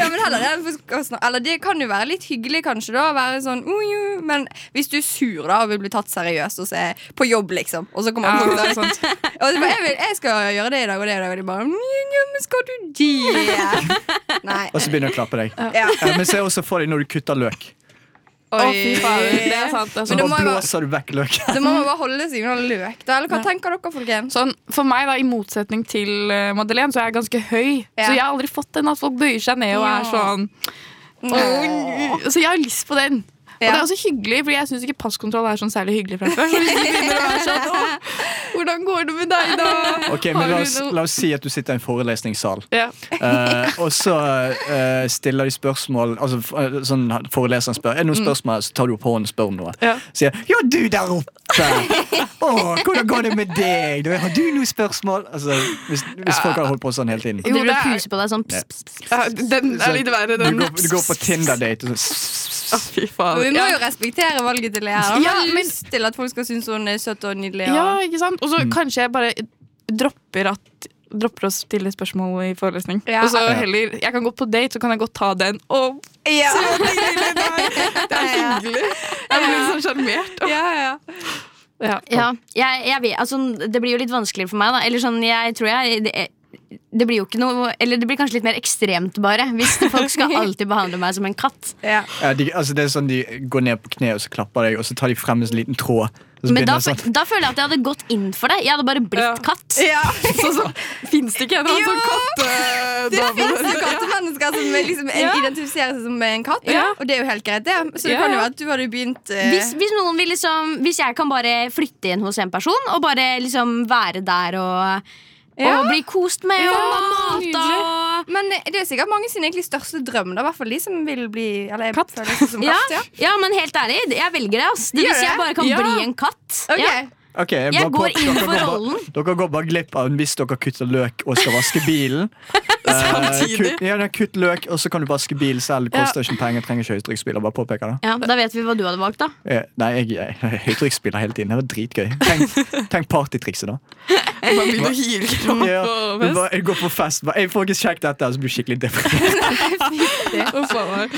Ja, men heller det enn for- å snak- altså, Eller det kan jo være litt hyggelig, kanskje. da å Være sånn, «Oi, oi», Men hvis du er sur da og vil bli tatt seriøst og se på jobb, liksom Og så kommer
Ja,
folk der
det er sant.
og så bare, jeg, vil, jeg skal gjøre det i dag og det i dag, og de bare «Mm, Ja, men skal du det? Nei.
Og så begynner jeg å klappe deg.
Ja.
Eh, Men se også for deg når du kutter løk.
Å, fy fader. Det er sant. Det er
Så
Men det
sant.
bare
må jo være-
blåser du vekk løken.
Da må man bare holde seg unna løk, da. Eller hva tenker dere, folkens?
Sånn, for meg da, I motsetning til eh, Madeleine, så er jeg ganske høy.
Ja.
Så jeg har aldri fått den at folk bøyer seg ned og er sånn «Åh». Så jeg har lyst på den. Og
Ja.
det er også hyggelig, fordi jeg syns ikke passkontroll er sånn særlig hyggelig fra før. Så hvis du begynner å være sånn «Åh, Hvordan går det med deg, da?
(laughs) Ok, men la
Har du
oss,
noe?»
la oss si at du sitter i en forelesningssal.
ja.
Eh, og så eh, stiller de spørsmål altså, f- eh, sånn, Foreleseren spør Er det noen spørsmål, så tar du opp hånden og spør om noe.
Mm. Ja.
Sier jeg, 'ja, du der oppe'. Å, hvordan går det med deg? Du, har du noen spørsmål? Altså, hvis hvis folk har holdt på sånn hele tiden.
Du
Jo,
vil
det er-
puse på deg sånn pss, pss, pss.
ja, Den er litt verre,
Du
den.
går, du går på Tinder-date og sånn
Å, fy
Og (laughs) vi
faen.
må
Ja.
jo respektere valget til Lea. da. Vi
Ja,
har
men-
lyst til at folk skal synes hun er søt og nydelig. Og...
Ja, ikke sant? Og
Mm.
så kanskje jeg bare dropper at Dropper å stille spørsmål i forelesning.
Ja.
Og så
Ja.
heller, Jeg kan gå på date, så kan jeg godt ta den. Og (laughs)
Ja.
det er hyggelig! Jeg blir sånn sjarmert.
Ja, ja.
Ja.
Ja, jeg, jeg vet, altså, det blir jo litt vanskeligere for meg, da. Eller sånn, jeg tror jeg det, det blir jo ikke noe Eller det blir kanskje litt mer ekstremt, bare. Hvis folk skal alltid behandle meg som en katt.
ja.
Ja, de, altså det er sånn De går ned på kne og så klapper deg, og så tar de frem en sånn liten tråd. Og så
Men da,
begynner de sånn
da føler jeg at jeg hadde gått inn for det. Jeg hadde bare blitt
Ja.
katt.
Sånn som Fins det ikke en annen sånn
(laughs) Det
kattedame?
finnes jo kattemennesker som liksom
Ja.
identifiserer seg som en katt,
Ja.
og det er jo helt greit, det. Så det
Ja.
kan jo være at du hadde begynt eh,
Hvis, hvis, noen vil liksom, hvis jeg kan bare flytte inn hos en person og bare liksom være der og,
Ja.
og bli kost med og mata og
Men eh, det er sikkert mange sin egentlig største drøm, da, i hvert fall de som vil bli eller jeg
Katt.
føler seg som
ja,
katt. Ja.
ja, men helt ærlig, jeg velger det. Ass. Det,
Gjør
hvis jeg
det?
bare kan
Ja.
bli en katt.
Ok.
Ja.
Ok, jeg
Jeg
bare
går
på-
inn
dere
for
går bare-
rollen.
Dere går bare glipp av hvis dere kutter løk og skal vaske bilen. Eh,
Samtidig.
kutt, ja, nei, kutt løk, og så kan du vaske bilen selv. Det Koster ikke penger, trenger ikke høytrykksbiler. Bare påpeker det.
Ja, da vet vi hva du hadde valgt, da.
Eh, Nei, jeg, jeg, høytrykksbiler hele tiden. Det var dritgøy. Tenk, tenk partytrikset, da.
Man begynner å hyle
Ja,
på
du
fest.
bare, jeg går på fest. bare, Jeg får ikke sjekket dette, og så blir jeg skikkelig deprimert.
Å, faen.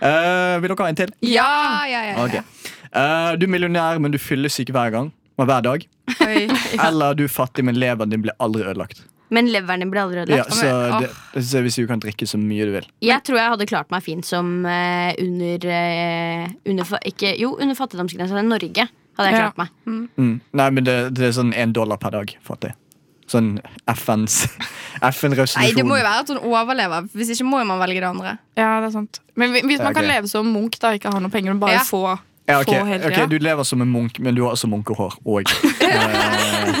Eh, vil dere ha en til?
Ja, ja, ja, ja.
Ok. Eh, du er millionær, men du fyller syk hver gang. og Hver dag.
Oi.
Eller du er fattig, men leveren din blir aldri ødelagt.
Men leveren din blir aldri
Ja,
ødelagt.
så, det, så Hvis du kan drikke så mye du vil.
Jeg tror jeg hadde klart meg fint som eh, under, eh, under fa- ikke, Jo, under fattigdomsgrensa i Norge. Hadde jeg
Ja.
klart meg
Mm. Nei, men det, det er sånn én dollar per dag, fattig. Sånn FNs (laughs) FN-resolusjon.
Nei, det må jo være at hun overlever. Hvis ikke må jo man velge det andre.
Ja, det er sant. Men hvi- hvis
Ja,
man kan
ok.
leve som Munch, da, ikke ha noe penger, men bare
Ja.
få,
ja, ok,
få hele
ok,
tida.
Du lever som en munk, men du har også munkehår. Og eh,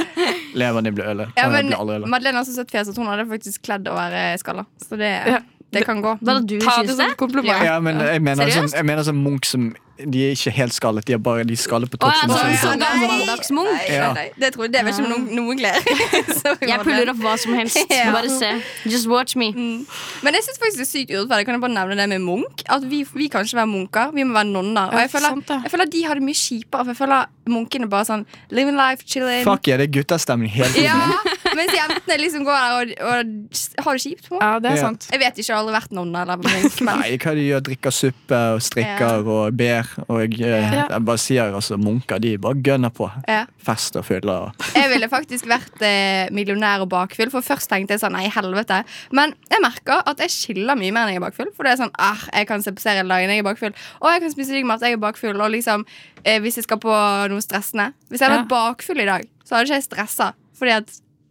leveren din blir øle.
(laughs) Ja,
Den
men
eh, blir aldri øle.
Madeleine har så søtt fjes at hun hadde faktisk kledd å være skalla. Så det,
Ja.
det kan gå.
Hva hadde du
Ta det
syntes
som sånn.
det?
et kompliment.
Ja, men jeg mener, sånn,
Seriøst?
jeg mener sånn munk som De er ikke helt skallet, de er bare de er skallet på
Å, ja,
toppen.
sånn,
sånn,
sånn,
Nei.
mandagsmunk.
Ja.
Nei, det tror jeg det vet ikke om noen, noen gleder. (laughs) Sorry,
Jeg
Madeleine.
puller opp hva som helst.
(laughs) Ja. Mm.
Bare se. Just watch me.
Men jeg synes faktisk det er sykt urettferdig. Kan jeg bare nevne det med Munch? At vi, vi kan ikke være munker, vi må være nonner. Og
Ja,
jeg føler,
sant det.
jeg føler at de har det mye kjipere, for jeg føler munkene bare sånn living life, chilling.
Fuck yeah, det er guttastemning hele tiden.
Ja, mens jentene liksom går der og, og har det kjipt. På. en måte.
Ja, det er
Ja.
sant.
Jeg vet ikke, jeg har aldri vært nonne eller munk, men
(laughs) Nei, hva de gjør, drikker suppe og strikker og ber. Og jeg, eh,
Ja.
jeg bare sier altså, munker de bare gønner på.
Ja.
Fest og fyller. og-
jeg ville faktisk vært eh, millionær og bakfull. For først tenkte jeg sånn, nei, helvete. Men jeg merker at jeg skiller mye mer når jeg er bakfull. For det er sånn, ah, jeg kan se på serien dagen jeg er bakfull. Og jeg kan spise digg mat, jeg er bakfull. Og liksom, eh, hvis jeg skal på noe stressende Hvis jeg hadde vært bakfull i dag, så hadde ikke jeg stressa. Fordi at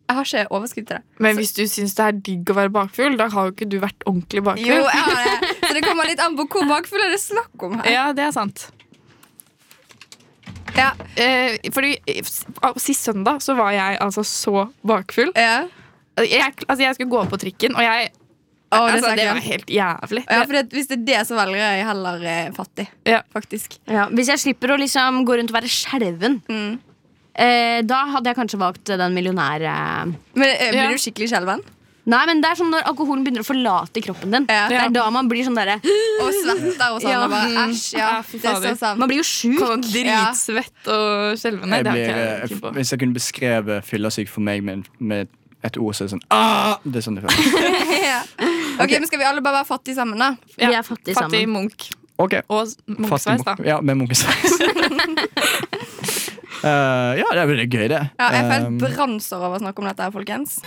jeg har ikke overskudd til det.
Men hvis du syns det er digg å være bakfull, da har jo ikke du vært ordentlig
Jo,
bakfull.
jeg har det. Så det kommer litt an på hvor bakfull er det snakk om her.
Ja, det er sant.
Ja,
Eh, fordi eh, s- ah, Sist søndag så var jeg altså så bakfull.
ja.
Jeg, altså, jeg skulle gå på trikken, og jeg
Å, det
altså,
snakker
det
jeg.
var helt jævlig.
Ja, for det, Hvis det er det, så velger jeg heller eh, fattig.
Ja.
Faktisk.
Ja, hvis jeg slipper å liksom gå rundt og være skjelven,
Mm.
eh, da hadde jeg kanskje valgt eh, den millionære
Men eh, Blir
Ja.
du skikkelig skjelven?
Nei, men det er sånn når alkoholen begynner å forlate kroppen din.
Ja.
Det er da man blir sånn derre
Og svetter og sånn.
Ja.
Og bare, Æsj, ja.
Ja, fy
Det er
fader.
så sant.
Man blir jo sjuk.
Sånn dritsvett og skjelvende.
Jeg
Det
blir,
har ikke
eh,
jeg keen på.
hvis jeg kunne beskreve fyllesyk for meg med, med et ord, så er det sånn ah! Det er sånn
(laughs)
det
(laughs)
føles.
Ja. Ok, men Skal vi alle bare være fattige sammen, da?
Vi
Ja,
er fattige
Fattig
sammen.
munk.
Ok,
Og s-
Fattig
munksveis, da.
munk- Ja, med
(laughs)
munkesveis. Eh, ja, det er veldig gøy, det.
Ja, jeg får helt
Um,
brannsår av å snakke om dette, her, folkens.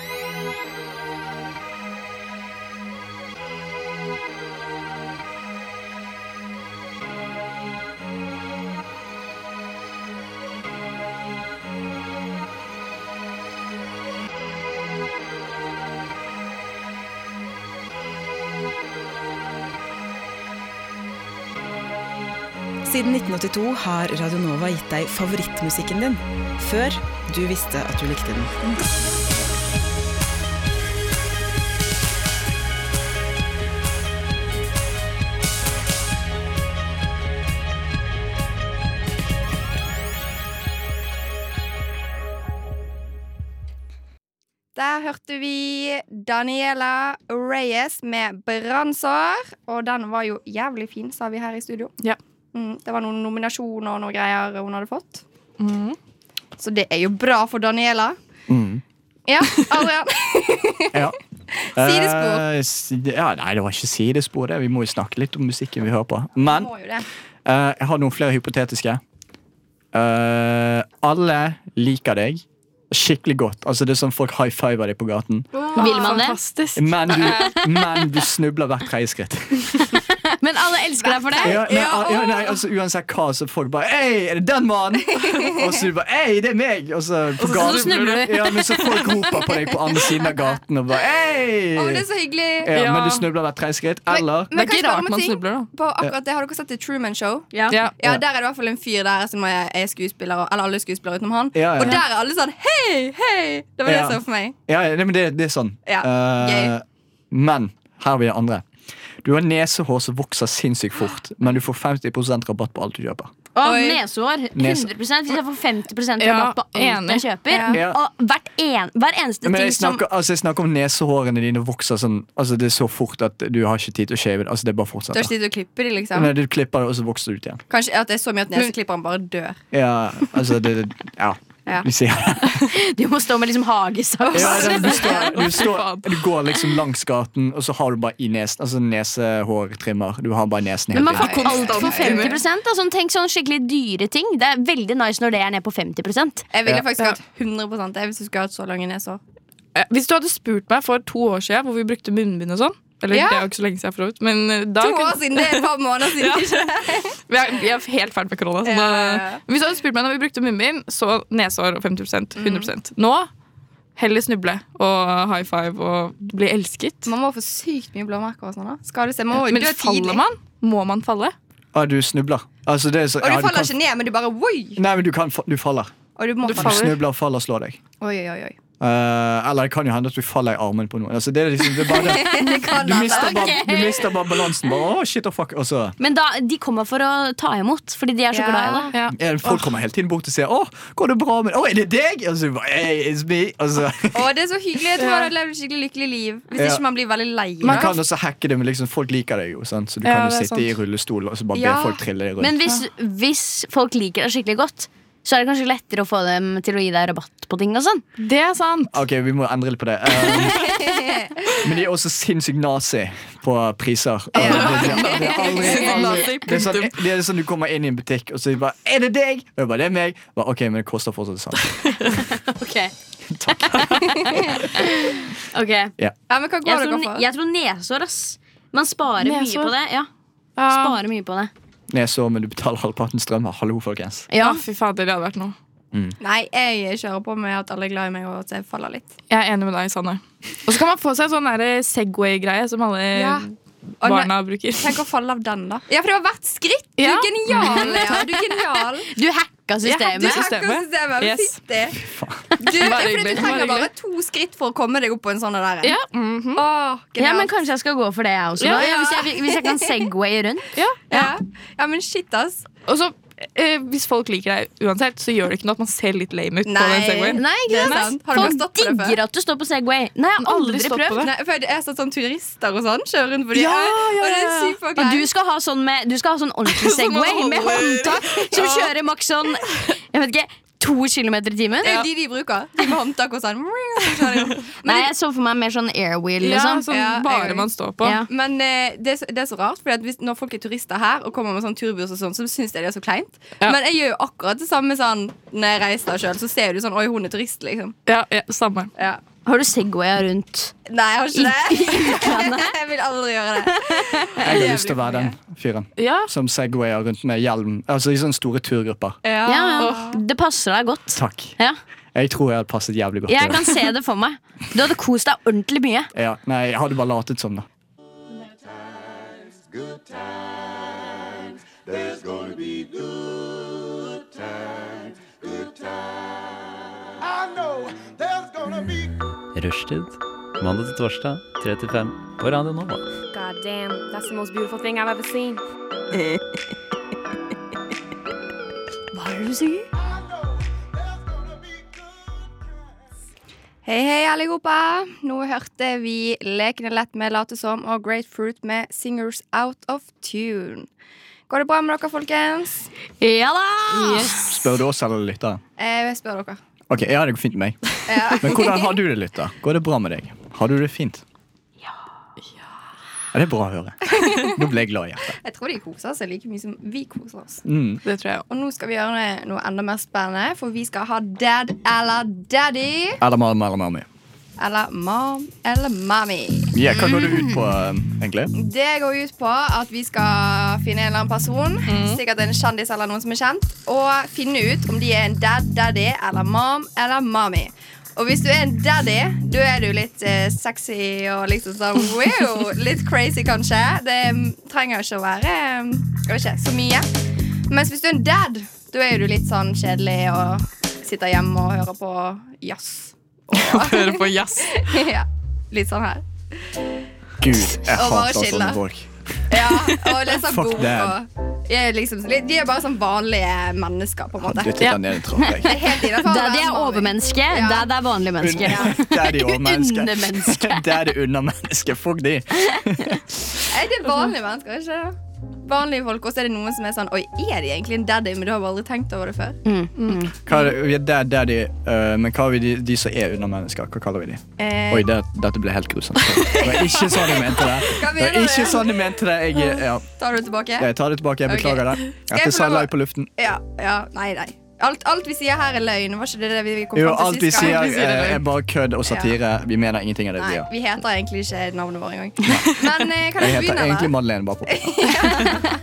Siden 1982 har Radio Nova gitt deg favorittmusikken din, før du visste at du
(laughs)
likte den.
Der hørte vi Daniela Reyes med 'Brannsår'. Og den var jo jævlig fin, sa vi her i studio.
Ja.
Mm, det var noen nominasjoner og noen greier hun hadde fått.
Mm.
Så det er jo bra for Daniela.
mm.
Ja, Adrian. (laughs)
(laughs)
Ja.
Sidespor.
Eh, s- ja, nei, det var ikke sidespor. det Vi må jo snakke litt om musikken vi hører på. Men
Må jo det.
eh, jeg har noen flere hypotetiske. Eh, alle liker deg skikkelig godt. Altså Det er sånn Folk high fiver deg på gaten.
Vil man det?
Fantastisk.
Men
(laughs)
du, men du snubler hvert tredje skritt.
Men alle elsker deg for det.
Ja, nei, al- ja, nei, altså Uansett hva, så folk bare Ei, er det den mannen? Og så du bare Ei, det er meg! Og så, på
Så
gaten-
snubler du.
Ja, men så folk roper på deg på andre siden av gaten og bare Ei!
Å, det er så hyggelig.
ja, men
Ja.
du snubler hvert tredje skritt. Eller
Det
Men kan jeg
er ikke
spørre om
rart man
en ting?
snubler, da.
På akkurat det Har dere sett The Truman Show?
Ja.
Ja,
Ja.
Der er det i hvert fall en fyr der som er er skuespiller, og- eller alle skuespillere utenom han.
Ja, ja.
Og der er alle sånn hei, hei! Det var det
Ja.
jeg så for meg.
Ja, ja, nei, men det, det er sånn.
Ja,
Eh,
gøy.
men her har vi det andre. Du har nesehår som vokser sinnssykt fort, men du får 50 rabatt på alt du kjøper.
Og
Oi.
nesehår.
Nes-
100 Hvis jeg får 50
Ja,
rabatt på alt
enig.
jeg kjøper,
Ja.
og hvert en, hver eneste
Men
ting
jeg
som
snakker, altså, jeg snakker om nesehårene dine vokser sånn Altså det er så fort at du har ikke tid til å shave det. Altså, det bare
Du har ikke
fortsetter.
tid til å klippe de, liksom.
Nei, du klipper det, og så vokser det ut igjen.
Kanskje at det er så mye at neseklipperen bare dør.
Ja, altså det, det- ja.
Ja.
Vi sier det.
Du må stå med liksom hagesaks.
Ja, det- (laughs) du, står, du,
faen.
står, du går liksom langs gaten, og så har du bare i nesen Altså nesehårtrimmer. Du har bare nesen
Men
helt
man
inn.
får ikke alt for 50 da. Sånn, Tenk sånn skikkelig dyre ting. Det er veldig nice når det er ned på 50
Jeg ville
Ja.
faktisk
Ja.
hatt 100 det hvis du skulle hatt så lange nesehår.
Eh, Hvis du hadde spurt meg for to år siden hvor vi brukte munnbind og sånn Eller
Ja.
det er jo ikke så lenge siden, for så vidt. Men eh, da
To
kunne-
år siden! Det er et par måneder siden.
(laughs) Ja. Vi er, vi er helt ferdig med korona. så
Ja, ja, ja.
da- Men Hvis du hadde spurt meg når vi brukte munnbind, så nesehår og 50
Mm.
100 Nå heller snuble og high five og bli
(laughs)
elsket.
Man må få sykt mye blåmerker og sånn. da Skade seg. Man må
Men
dø
faller
tidlig.
man? Må man falle?
Ja, Ah, du snubler. Altså, det er så,
Og
ja,
du
du
faller
kan,
ikke ned, men du bare woi!
nei, men du, kan, fa- du faller.
Og du må
Du
Du
falle.
faller.
snubler, faller, slår deg.
Oi, oi, oi, oi.
Eh, eller det kan jo hende at du faller i armen på noen. Altså, det er liksom, det er bare det.
Det kan
Du
være.
mister bare, du mister bare balansen. Bare, «Åh, shit, oh, fuck. Og så
Men da, de kommer for å ta imot, fordi de er så
Ja.
glad i deg.
Ja.
er det- folk kommer hele tiden bort og sier 'Å, går det bra med deg?' 'Å, er det deg?' Og så bare hey, 'It's me'. Og så,
Å, det er så hyggelig. Jeg tror man hadde levd et skikkelig lykkelig liv. Hvis
Ja.
ikke man blir veldig lei.
man
da.
kan også hacke det, men liksom, folk liker deg jo. Sant? Så du
Ja,
kan jo
det er
sitte
sant.
i rullestol og så bare
Ja.
be folk trille deg rundt.
Men hvis, hvis folk liker deg skikkelig godt, så er det kanskje lettere å få dem til å gi deg rabatt på ting. og sånn
Det er sant.
Ok, vi må endre litt på det. Eh, men de er også sinnssykt nazi på priser. Eh, Det, det, det, er aldri, aldri, det, er sånn, det er sånn du kommer inn i en butikk, og så er de bare 'Er det deg?' Og jeg bare, 'Det er meg'. Jeg Bare, ok, men det koster fortsatt det samme.
Ok
Ja, men hva går
Jeg
dere
tror,
for?
jeg tror nesår, ass. Man sparer
Nesår?
mye på det. Ja,
Ja,
sparer mye på det
Nesår, men du betaler halvparten strøm. Hallo, folkens.
ja.
Ja, fy fader, det hadde vært noe.
Nei, jeg kjører på med at alle er glad i meg, og at jeg faller litt.
Jeg er enig med deg, Sanne. Og så kan man få seg en sånn der Segway-greie som alle
Ja. Og nå-
barna bruker.
Tenk å falle av den, da. (laughs) Ja, for det var hvert skritt! Du
Ja.
er genial, Lea. Du er genial.
Du hacker hacka systemet.
Du hacker systemet.
Yes.
Fytti. Du, det er
Bare
fordi
hyggelig.
du
Bare
trenger bare
hyggelig.
to skritt for å komme deg opp på en sånn der.
(laughs) Ja. mhm.
Åh,
Ja, men
genialt.
Kanskje jeg skal gå for det, jeg også.
Ja,
da.
ja.
Hvis, jeg, hvis jeg kan segway rundt.
ja. ja, men shit, ass.
Og så, eh, hvis folk liker deg uansett, så gjør det ikke noe at man ser litt lame ut på
Nei.
den segwayen.
(laughs) Nei, ikke
Det er
sant?
sant. Har du bare
Folk
stått på det før?
digger at du står på Segway. Nei, jeg har aldri,
Aldri stått på
prøvd.
det.
Nei, for jeg har sett sånn turister og sånn kjøre rundt på de
Ja, ja,
Og det er
ja, ja.
sykt folk
Og
her.
du skal ha sånn, med, du skal ha sånn ordentlig Segway med
holder.
håndtak som kjører maks sånn Jeg vet ikke, to kilometer i timen.
Det er jo de de bruker. De med håndtak og
(laughs)
sånn. så kjører de.
Nei, jeg så for meg mer sånn airwheel,
Ja,
liksom.
sånn
Ja, jeg
bare
òg.
man står på.
Ja.
Men eh, det, er så- det er så rart, for hvis, når folk er turister her og kommer med sånn turburs, og sånn, så syns jeg det er så kleint.
Ja.
Men jeg gjør jo akkurat det samme sånn, når jeg reiser sjøl. Så ser du sånn Oi, hun er turist, liksom.
Ja, ja, samme.
Ja.
Har du Segwaya rundt?
Nei, jeg har (laughs) ikke det. jeg vil aldri gjøre det.
Jeg har lyst til å være den fyren
Ja.
som segwayer rundt med hjelm. Altså i sånne store turgrupper.
Ja, Det passer deg godt.
Takk.
Ja.
Jeg tror jeg hadde passet jævlig godt.
Jeg
i det.
kan se det for meg. Du hadde kost deg ordentlig mye.
Ja, nei, jeg hadde bare latet som, da.
Rushtid. Mandag til torsdag, 3 til 5 på Radio Nova.
God damn, that's the most beautiful thing I've ever seen.
Hei, hei, alle sammen. Nå hørte vi Lekene lett med Late som og Great Fruit med Singers Out of Tune. Går det bra med dere, folkens?
Ja da!
Spør du oss eller lytteren?
Eh, Jeg spør dere.
Ok, ja, det går fint med meg.
Ja. (laughs)
Men hvordan har du det, lytter? Går det bra med deg? Har du det fint? Ja. Ja, det er bra å høre. Nå ble jeg glad i hjertet.
Jeg tror de koser seg like mye som vi koser oss.
Mm.
Det tror jeg òg.
Og nå skal vi gjøre noe enda mer spennende, for vi skal ha dad eller daddy.
Eller mamma eller mami.
Eller mom eller mommy.
Ja, hva går det ut på, eh, egentlig?
Det går ut på at vi skal finne en eller annen person, sikkert en kjendis eller noen som er kjent, og finne ut om de er en dad, daddy eller mom eller mommy. Og hvis du er en daddy, da er du litt eh, sexy og liksom sånn wow, litt crazy kanskje. Det mm, trenger ikke å være mm, jeg vet ikke, så mye. Mens hvis du er en dad, da er du litt sånn kjedelig og sitter hjemme og hører på jazz.
(laughs)
Hører på jazz.
(laughs) ja, litt sånn her.
Gud, jeg
Og bare
hater
chille.
sånne folk.
Ja, og leser
Fuck
bok
that.
og jeg er liksom, De er bare sånn vanlige mennesker, på en
Du
måte.
titter ned i trapp, jeg.
Det er helt innenfor å være
Daddy er
vanlig.
overmenneske, daddy er vanlig menneske.
Det er de overmenneske.
Undermenneske.
(laughs) Det er det undermenneske. Fuck de.
Er det vanlige mennesker, er ikke det? Vanlige folk, og så er det noen som er sånn Oi, er de egentlig en daddy, men du har bare aldri tenkt over det før?
Mm.
Hva er det, vi er der, der de, øh, men hva er vi de, de som er undermennesker? Hva kaller vi de?
Eh,
Oi, det, dette ble helt grusomt. Det var ikke sånn jeg mente det.
Hva
Det var
mener
ikke
du?
sånn jeg mente det. Jeg, ja,
Tar du det tilbake?
jeg tar det tilbake. Jeg beklager det.
jeg
Dette
få
sa jeg
lov å-
live på luften.
Ja, ja, nei, nei. Alt, alt vi sier her, er løgn. Var ikke det det vi kom
Jo,
fram
alt vi
til sist gang?
sier,
Vi sier det
eh,
løgn.
er bare kødd og satire. Vi mener ingenting av det vi
Nei,
gjør.
vi heter egentlig ikke navnet vårt engang. Men eh, kan
Jeg
jeg
heter
begynne,
egentlig
eller?
Madeleine Barpo.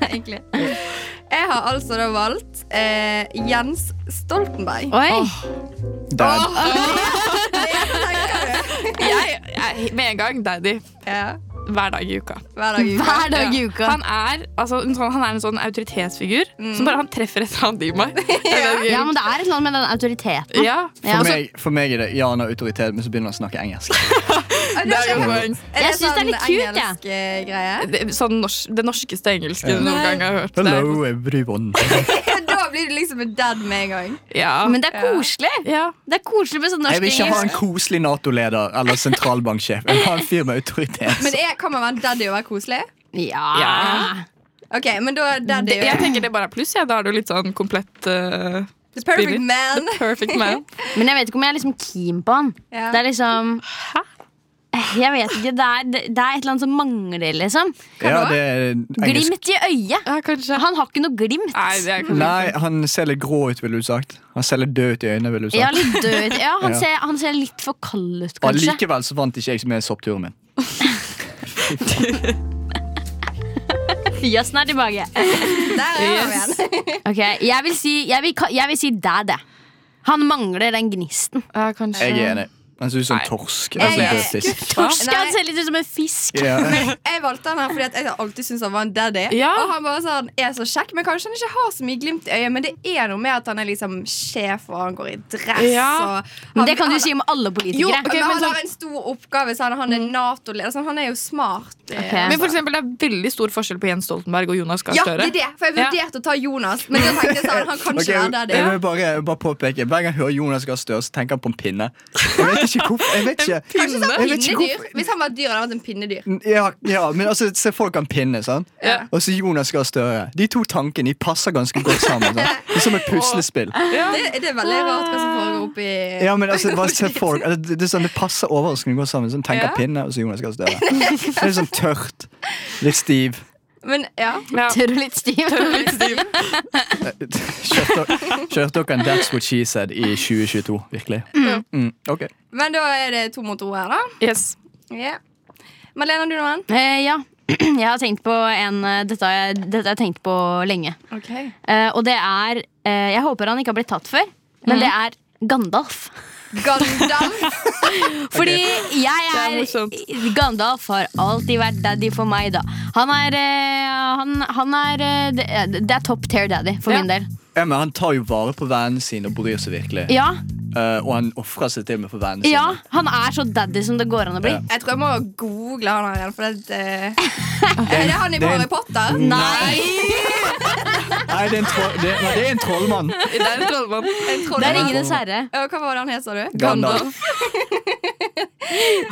(laughs) egentlig. Jeg har altså da valgt eh, Jens Stoltenberg.
Oi,
Dad.
Jeg, jeg, med en gang daddy.
(laughs) Ja,
Hver dag i uka.
hver dag i uka.
hver dag i uka.
Han er, altså, en sånn, han er en sånn autoritetsfigur som bare han treffer et eller annet i meg. Jeg vet ikke.
Ja, men det er et eller annet med den autoriteten.
ja.
Ja,
For
altså,
meg, for meg er det Jan har autoritet, men så begynner han å snakke engelsk.
Å,
Det sånn- er jo
ikke-
poeng.
Jeg synes det er litt
sånn
cute, jeg.
engelsk eh, (laughs) greie?
Det- Sånn nors det norskeste engelske du noen gang har hørt. Det er-
Hello, everyone.
da blir du liksom en dad med en gang.
Ja.
men det er koselig.
ja.
Det er koselig med sånn
Jeg
norsk
vil ikke ha en
engelsk.
koselig Nato-leder eller sentralbanksjef. Jeg vil ha en fyr med
Men
autoritet.
er, kan man være daddy og være koselig?
Ja.
Ok, men da er daddy
Jeg tenker det bare er pluss. Ja. Da er du litt sånn komplett eh,
The perfect
Billy.
man. (laughs)
perfect man.
Men jeg vet ikke om jeg er liksom keen på han.
Ja.
Det er liksom Jeg vet ikke, det er, det er et eller annet som mangler, liksom.
Ja, det er engelsk.
Glimt i øyet. Han har ikke noe glimt.
Nei, det er
Nei, han ser litt grå ut, ville du sagt. Han ser litt død ut i øynene, ville du
Ja,
sagt.
litt død. Ja, han,
Ja.
Ser, han ser litt for kald ut,
Og
kanskje.
likevel så vant ikke jeg med soppturen min.
Ja, snart tilbake.
Der er han igjen.
Ok, jeg vil si, jeg vil, ka- jeg vil si dad, jeg. Han mangler den gnisten.
ja, kanskje.
Jeg er enig. Han ser ut som en torsk.
Jeg-
Altså, en død
jeg-
fisk.
Torsk
Nei.
han ser litt ut som en fisk.
Ja.
Jeg valgte han her fordi at jeg har alltid syntes han var en daddy.
Ja.
Og han bare sånn, er så kjekk, men kanskje han ikke har så mye glimt i øyet. Men det er noe med at han er liksom sjef, og han går i dress.
Ja.
Og han,
Men det kan du
han-
si om alle
Jo,
politikere.
men
ok, men
han
sånn-
har en stor oppgave, så han, han er Nato-leder. Sånn, han er jo smart. eh,
Ok.
Men for eksempel, det er veldig stor forskjell på Jens Stoltenberg og Jonas Gahr
Ja,
Støre.
det er det! For jeg vurderte å ta Jonas, men jeg tenkte jeg sånn, han kan
(laughs) Ok,
ikke være daddy.
jeg vil bare, jeg vil bare påpeke Hver gang jeg hører Jonas Gahr Støre, så tenker han på en pinne. Jeg vet ikke hvorfor. Jeg vet ikke.
Kanskje sånn
Jeg vet ikke
pinnedyr. Hvis han var et dyr, hadde han vært en pinnedyr.
Ja, ja, men altså, se folk kan pinne, sant?
Ja.
Og så Jonas Gahr Støre. De to tankene de passer ganske godt sammen. Sant? Det er som et puslespill.
Det, det er veldig rart hva som foregår oppi
Ja, men altså, bare se folk altså, det, det, er sånn, det passer overraskende godt sammen. Sånn, tenker
Ja.
pinne, og så Jonas Gahr Støre. Det er litt sånn tørt. Litt stiv.
Men ja.
Ja.
Tørr og litt stiv.
Eh, Kjørte kjørte dere en That's What She Said i 2022, virkelig? Mm, ok.
Men da er det to mot to her, da.
Yes.
Ja. Malena, du noen?
Eh, ja. Jeg har tenkt på en eh, Dette har jeg, dette har jeg tenkt på lenge.
Okay.
Eh, og det er eh, Jeg håper han ikke har blitt tatt før, men det er Gandalf.
Gandalf.
Fordi
Det
jeg
er
er,
morsomt.
Gandalf har alltid vært daddy for meg, da. Han er, eh, han, han er eh, det, det er top tear daddy for
Ja.
min del.
Ja, men han tar jo vare på vennene sine og bryr seg virkelig.
Ja,
Eh, og han ofrer seg til og med for vennene
ja,
sine.
han er så daddy som det går an å bli.
Ja.
Jeg tror jeg må google han her igjen, for det eh, Er det han i
det er en-
Harry Potter?
Nei!
Nei, det er en, troll, det, nei, det er en trollmann.
Det er en trollmann.
Jeg tror
Det er
var-
Ringenes herre.
Ja, Hva var det han het, sa du?
Gandalf.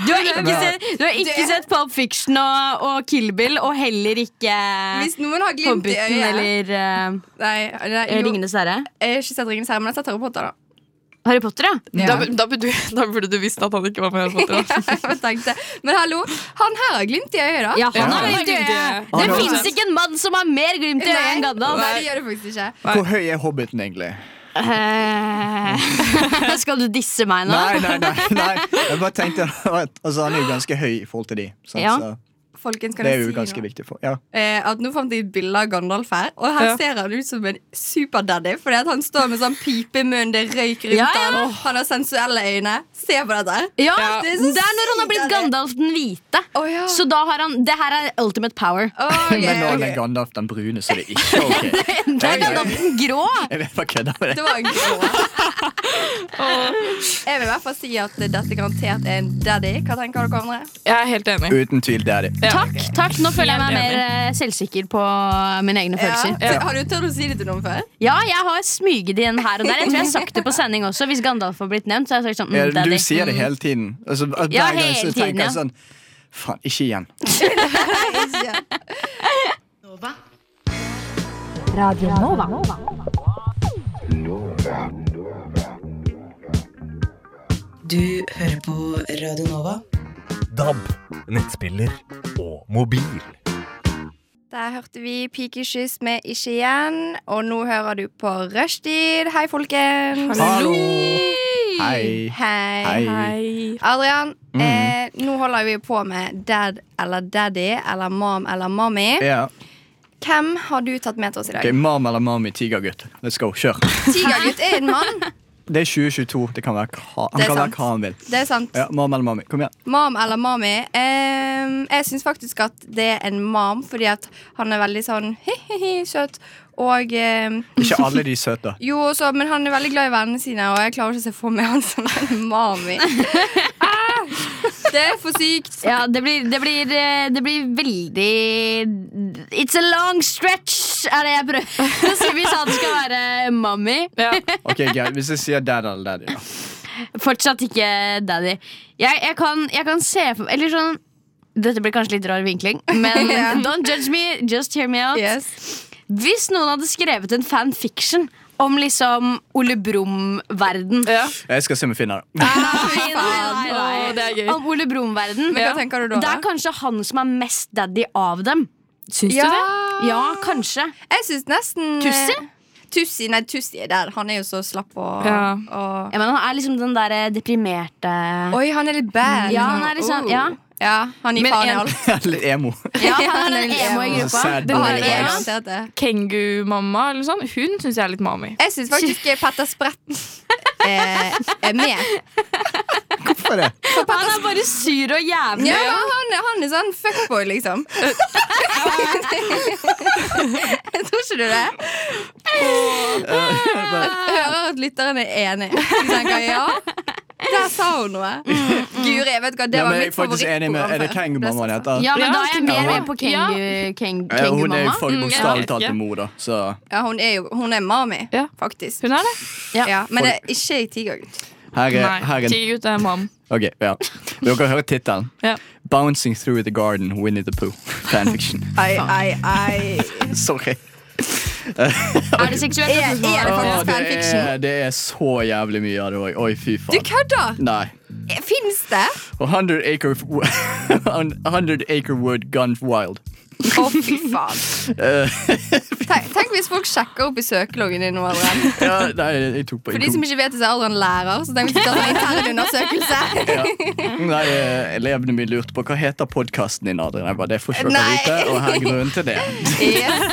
Du har ikke sett, du har ikke
Det-
sett Pulp Fiction og, og Kill Bill, og heller ikke
Hvis noen har glimt i
Hobbiten
øyet
eller eh,
Nei, nei jo,
Ringenes herre.
Jeg har ikke sett Ringenes herre, men jeg har sett Harry Potter, da.
Harry Potter, ja.
Da, da, burde, da burde du visst at han ikke var med. i Harry Potter,
(laughs)
da.
Jeg tenkte, men hallo, han her har glimt i øyet, da.
Ja, han
Ja.
har glimt i øyet. Det
Ja.
fins ikke en mann som har mer glimt i øyet enn
Nei,
Gandalf.
nei, det gjør det faktisk ikke.
Hvor høy er hobbiten egentlig?
Eh, (laughs) Skal du disse meg nå?
Nei, nei, nei. nei. Jeg bare tenkte at altså, Han er jo ganske høy i forhold til de. sant?
Ja.
Så
Folkens, kan
det er
jeg
jo
si
ganske
noe?
viktig for ja.
Eh, at nå fant jeg et bilde av Gandalf her, og her
Ja.
ser han ut som en superdaddy. Fordi at han står med sånn pipe i munnen, det er røyk rundt
Ja, ja.
han, han har sensuelle øyne. Se på dette.
Ja,
Ja.
det er, når han har blitt Gandalf den hvite.
Å, ja.
Så da har han Det her er ultimate power.
Å,
Men nå
yeah,
er
ok.
den Gandalf den brune, så det er ikke ok.
(laughs) Det er Gandalf den grå.
Jeg vet bare kødder med
Det
det.
var en grå. Jeg vil i hvert fall si at dette garantert er en daddy. Hva tenker dere andre?
Jeg er helt enig.
Uten tvil, det er de.
Ja.
Takk. takk, Nå føler jeg meg
Helt
mer eh, selvsikker på mine egne følelser.
Ja. Har du tørt å si det til noen før?
Ja, jeg har smyget igjen her og der. Jeg tror jeg har sagt det på sending også. Hvis Gandalf har blitt nevnt, så har jeg sagt sånn
Ja,
mm, daddy.
du sier det hele tiden. Altså, hver
Ja,
gang så
hele tiden,
tenker jeg
ja.
sånn Faen, ikke igjen.
Du hører på Radio Nova.
DAB, nettspiller og mobil.
Der hørte vi Pikeskyss med Ikke igjen, og nå hører du på Rushtid. Hei, folkens.
Hallo!
Hei.
Hei. Hei. Mm.
Hei.
Adrian, eh, nå holder vi på med dad eller daddy eller mom eller mommy.
Ja.
Hvem har du tatt med til oss i dag?
Ok, Mam eller mami, tigergutt. Let's go. Kjør.
Tigergutt er en
(laughs)
mann.
Det er 2022. Det kan være hva han,
Det er
kan være
sant.
hva han vil.
Det er sant.
Ja, Mam eller mami. Kom igjen.
Mam eller mami. Ehm, jeg syns faktisk at det er en mam, fordi at han er veldig sånn hi-hi-hi, søt. Og ehm,
Ikke alle de søte.
jo, også, men han er veldig glad i vennene sine, og jeg klarer ikke å se for meg han som en
(laughs)
mami. Ah, det er for sykt.
Ja, det blir, det, blir, eh, det blir veldig It's a long stretch, er det jeg prøver (laughs) å si. Hvis han skal være mommy.
Ja.
(laughs)
Ok, greit. Hvis jeg sier dad eller daddy, da.
Fortsatt ikke daddy. Jeg, jeg, kan, jeg kan se for Eller sånn Dette blir kanskje litt rar vinkling,
(laughs)
men (laughs)
Ja.
don't judge me, just hear me out.
Yes.
Hvis noen hadde skrevet en fanfiction om liksom Ole Brumm-verden
Ja.
Jeg skal se om jeg finner det. (laughs)
Ah, Nei, nei, nei,
Å, det er gøy.
Om Ole Brumm-verden.
Men hva tenker du da,
Det
da?
er kanskje han som er mest daddy av dem.
Syns
Ja.
du det?
Ja, kanskje.
Jeg syns nesten
Tussi?
eh, Tussi, nei, Tussi er der. Han er jo så slapp og,
Ja.
og
Ja, men han er liksom den der eh, deprimerte
Oi, han er litt bad. Oh.
Ja, han er litt sånn- ja.
ja, han gir
Men
faen i
en-
alt.
Litt emo. (laughs)
Ja, han er den
litt
emo i
emo.
gruppa.
Sad
Den
boy.
Han
der
er
emo.
garantert det.
Kengumamma eller sånn. Hun syns jeg er litt mami.
Jeg syns faktisk Petter Sprett eh, er med.
på det.
Han er bare sur og jævlig.
Ja, men han, er- han er sånn fuckboy, liksom. Tror ikke du det? Jeg hører at lytteren er enig. Så tenker jeg, ja, der sa hun noe. Guri, vet du hva, det
Ja,
var
men jeg er
mitt
faktisk enig med Er det
favorittprogram.
kengumammaen heter?
Ja, men da er jeg mer
Ja.
med på kengu- keng-
Eh, Hun er jo
kengumamma.
for
Mm,
bokstavelig
ja.
talt en mor, da. Så
Ja, hun er jo hun er mami,
Ja.
faktisk.
Hun er det.
Ja. men det er ikke i Tigergutt.
her er, her
Nei,
er
tigg ut er mam.
Ok, ja. Dere hører tittelen.
Ja.
'Bouncing Through the Garden, Winnie the Pooh'. Fanfiction. (laughs)
Ai, ai, ai.
Sorry.
Er det seksuelt?
Er, er det
Å,
faktisk
det,
fanfiction?
er, det er så jævlig mye av det òg. Oi,
Du
fy faen.
kødder!
Nei.
Fins det?
Og 100 Acre, (laughs) 100 acre Wood Gun Wild. Eh,
Å, fy faen. Tenk, tenk hvis folk sjekker opp i søkeloggen din nå allerede.
(laughs) Ja, nei, jeg tok på
For de som ikke vet det, så er Adrian lærer. Så tenk hvis de tar en intern undersøkelse.
ja. Nei, eh, Elevene mine lurte på hva heter podkasten din, Adrian. Jeg bare, det får ikke dere
Nei.
vite, og her er grunnen
(laughs)
til det.
Yes.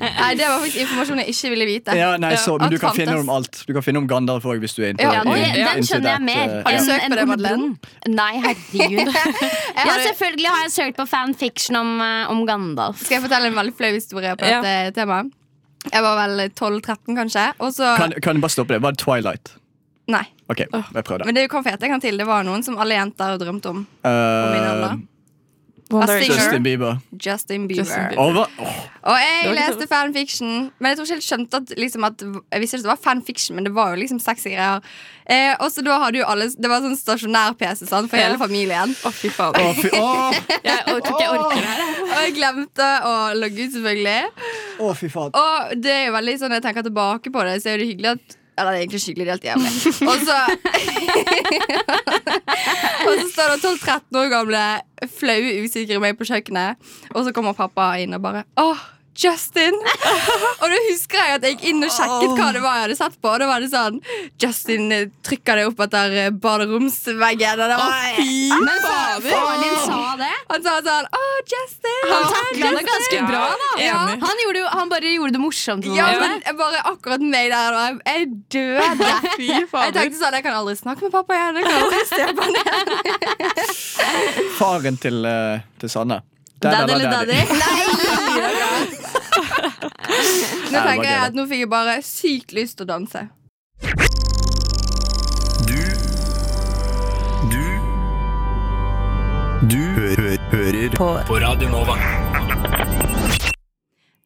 Nei, det var faktisk informasjon jeg ikke ville vite.
Ja, nei, så, men
Alt
du kan finne
fantes.
om alt. Du kan finne om Gandalf òg, hvis du er
Ja,
interessert.
det,
i-
den skjønner jeg
interessert,
mer.
eh,
Har du
enn-
søkt på
enn
det,
Ole
Madeleine?
Brumm. Nei,
(laughs)
herregud.
Jeg
Ja,
har-
selvfølgelig har jeg søkt på fanfiction om, eh, om Gandalf.
Skal jeg fortelle en veldig flau historie på
Ja.
dette temaet? Jeg var vel 12-13, kanskje. Og så
Kan, kan du bare stoppe det? Var det Twilight?
Nei.
OK, jeg prøver det.
Men det er jo konfet jeg kan til. Det var noen som alle jenter drømte om. min
Uh,
alder. Asting-
Justin Bieber.
Justin Bieber.
Justin Bieber.
Over. Åh,
Og jeg
var ikke
leste fanfiction, men jeg tror ikke helt skjønte at, liksom, at Jeg visste ikke at det var fanfiction, men det var jo liksom sexy greier. Eh, og så da hadde jo alle Det var sånn stasjonær-PC sant, for
Ja.
hele familien.
Å, fy faen.
Å, fy, åh,
Jeg tror ikke jeg orker det her. jeg.
Og jeg glemte å logge ut, selvfølgelig.
åh, fy faen.
Og det er jo veldig sånn når jeg tenker tilbake på det, så er det hyggelig at eller det er egentlig skikkelig helt jævlig. Og så (laughs) Og så står det 12-13 år gamle flaue, usikre meg på kjøkkenet, og så kommer pappa inn og bare Åh, Justin! (laughs) og da husker jeg at jeg gikk inn og sjekket hva det var jeg hadde sett på. Og da var det sånn Justin eh, trykker det opp etter eh, baderomsveggen. Og det var,
Men faren faren din sa det.
han sa sånn Åh, Justin!
Han
Åh,
takla det ganske
Ja,
bra, da.
enig.
Ja, han, gjorde, jo- han bare gjorde det morsomt.
Ja,
Ja,
men jeg bare akkurat meg der da. Jeg- Jeg døde.
(laughs) Fy
Jeg
fader.
tenkte sånn, jeg kan aldri snakke med pappa igjen. Jeg kan aldri se på han igjen.
Faren til, eh, til Sanne.
Daddy eller daddy?
Nå
Nei, det var
tenker jeg
gøy,
at nå fikk jeg bare sykt lyst til å danse.
Du Du Du hø hø hører på. Radio Nova.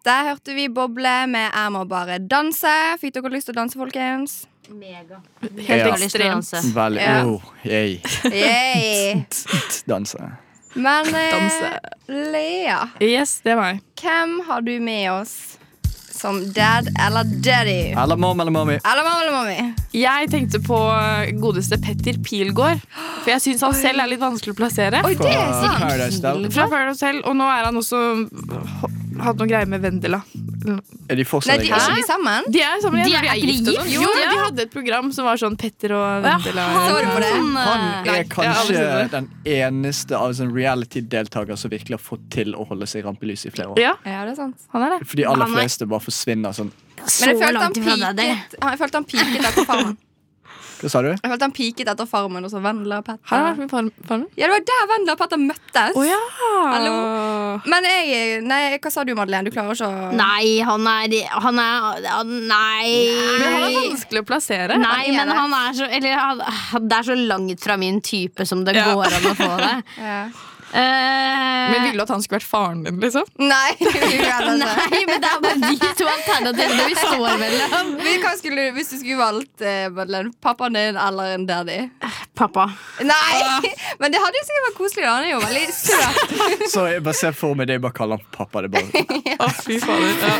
Der hørte vi Boble med 'Jeg må bare danse'. Fikk dere lyst til å danse, folkens?
Mega.
Ja.
Helt ekstremt.
Veldig.
Ja.
Oh, yay.
Yay.
Danse.
Men eh,
Danse.
Lea,
Yes, det er meg.
hvem har du med oss som dad eller daddy?
Eller mom eller mommy.
Eller mamma eller mommy?
Jeg tenkte på eh, godeste Petter Pilgaard. For jeg syns han selv er litt vanskelig å plassere.
Oi, det er sant!
Ah, Paradise Hotel.
Fra Paradise Hotel, og nå er han også h- hatt noen greier med Vendela.
Er de
Nei,
fortsatt
de,
ikke
er ikke de sammen?
De er sammen
De
igjen,
er
og
ikke
gift og
gift?
sånn.
Jo,
Jo,
ja.
de hadde et program som var sånn Petter og Vendela.
Så du på det?
Sånn.
Nei,
Han
jeg
er
har aldri
kanskje
sett det.
den eneste av sånn reality-deltaker som virkelig har fått til å holde seg i rampelyset i flere år.
Ja,
Ja, det er sant.
han er det.
For de aller
Han er-
fleste bare forsvinner sånn.
Men jeg
Så
følte han
langt ifra deg. det.
piket, jeg følte han piket etter farmen.
Hva sa du?
Jeg følte han piket etter farmen og så Vendela og
Har han
Petter.
vært med i Farm- Farmen?
Ja, det var der Vendela og Petter møttes.
Å ja!
Men jeg Nei, hva sa du, Madeleine? Du klarer ikke å
Nei, han er, han er han-
Men han er sånn-
Nei.
vanskelig å plassere.
Nei,
Jeg
men
mener-
han er så Eller han, han- det er så langt fra min type som det
Ja.
går an å få det.
Ja.
Eh,
Men ville du at han skulle vært faren din, liksom?
Nei. (laughs) vi gjør det ikke.
(laughs)
(laughs)
Nei, men det er bare de to alternativene vi står mellom.
Men Hva skulle, hvis du skulle valgt eh, Madeleine, pappaen din eller en daddy?
Pappa.
Nei! Men det hadde jo sikkert vært koselig. da. Han er jo veldig søt.
Så jeg bare ser for meg det, jeg bare kaller han pappa. Det er bare.
Å, fy fader. Ja.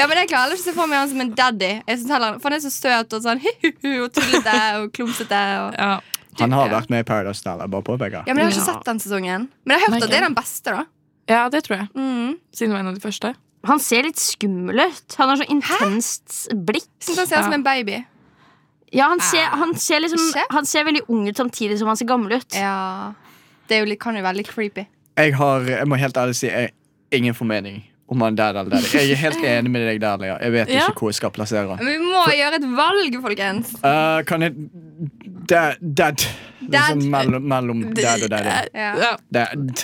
Ja, men Jeg klarer heller ikke å se for meg han som en daddy. Jeg synes heller, For han er så søt og sånn (laughs) hu-hu og tullete og klumsete. Og...
Ja.
Han har vært med i Paradise Hotel. Jeg bare påpeker.
Ja, men Jeg har ikke
Ja.
sett den sesongen. Men jeg har hørt
Nei,
at det er den beste, da.
ja, det tror jeg.
Mm.
Siden det var en av de første.
Han ser litt skummel ut. Han har så intenst blikk.
Jeg synes han ser ut som
Ja.
en baby.
Ja, han ser, han, ser liksom,
Ikke?
han ser veldig ung ut samtidig som han ser gammel ut.
Ja Det er jo litt, kan jo være litt creepy.
Jeg, har, jeg må helt ærlig si jeg, ingen formening om han der eller der. Jeg er helt enig med deg der, Lea. Jeg vet
Ja.
ikke hvor jeg skal plassere han.
Men vi må gjøre et valg, folkens.
Eh, kan jeg Dad, dad, Liksom mellom, mellom dad
eh,
og daddy.
Ja.
Dad.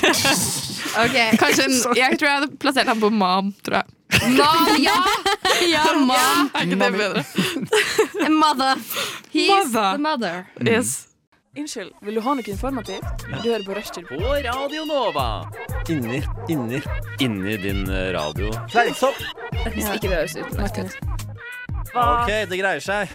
(laughs)
Kanskje en, (laughs) Jeg tror jeg hadde plassert ham på mam, tror jeg.
Mom, ja! ja mom.
Er
eh,
ikke det bedre?
Mother. He's
Mother.
the mother.
Yes.
Unnskyld, vil du ha noe informativt? Du hører på Rushtid.
På Radio Nova. Inni, inni, inni din eh, radio. Fleinsopp.
Hvis ikke det høres utenlandsk ut.
Ok, det greier seg.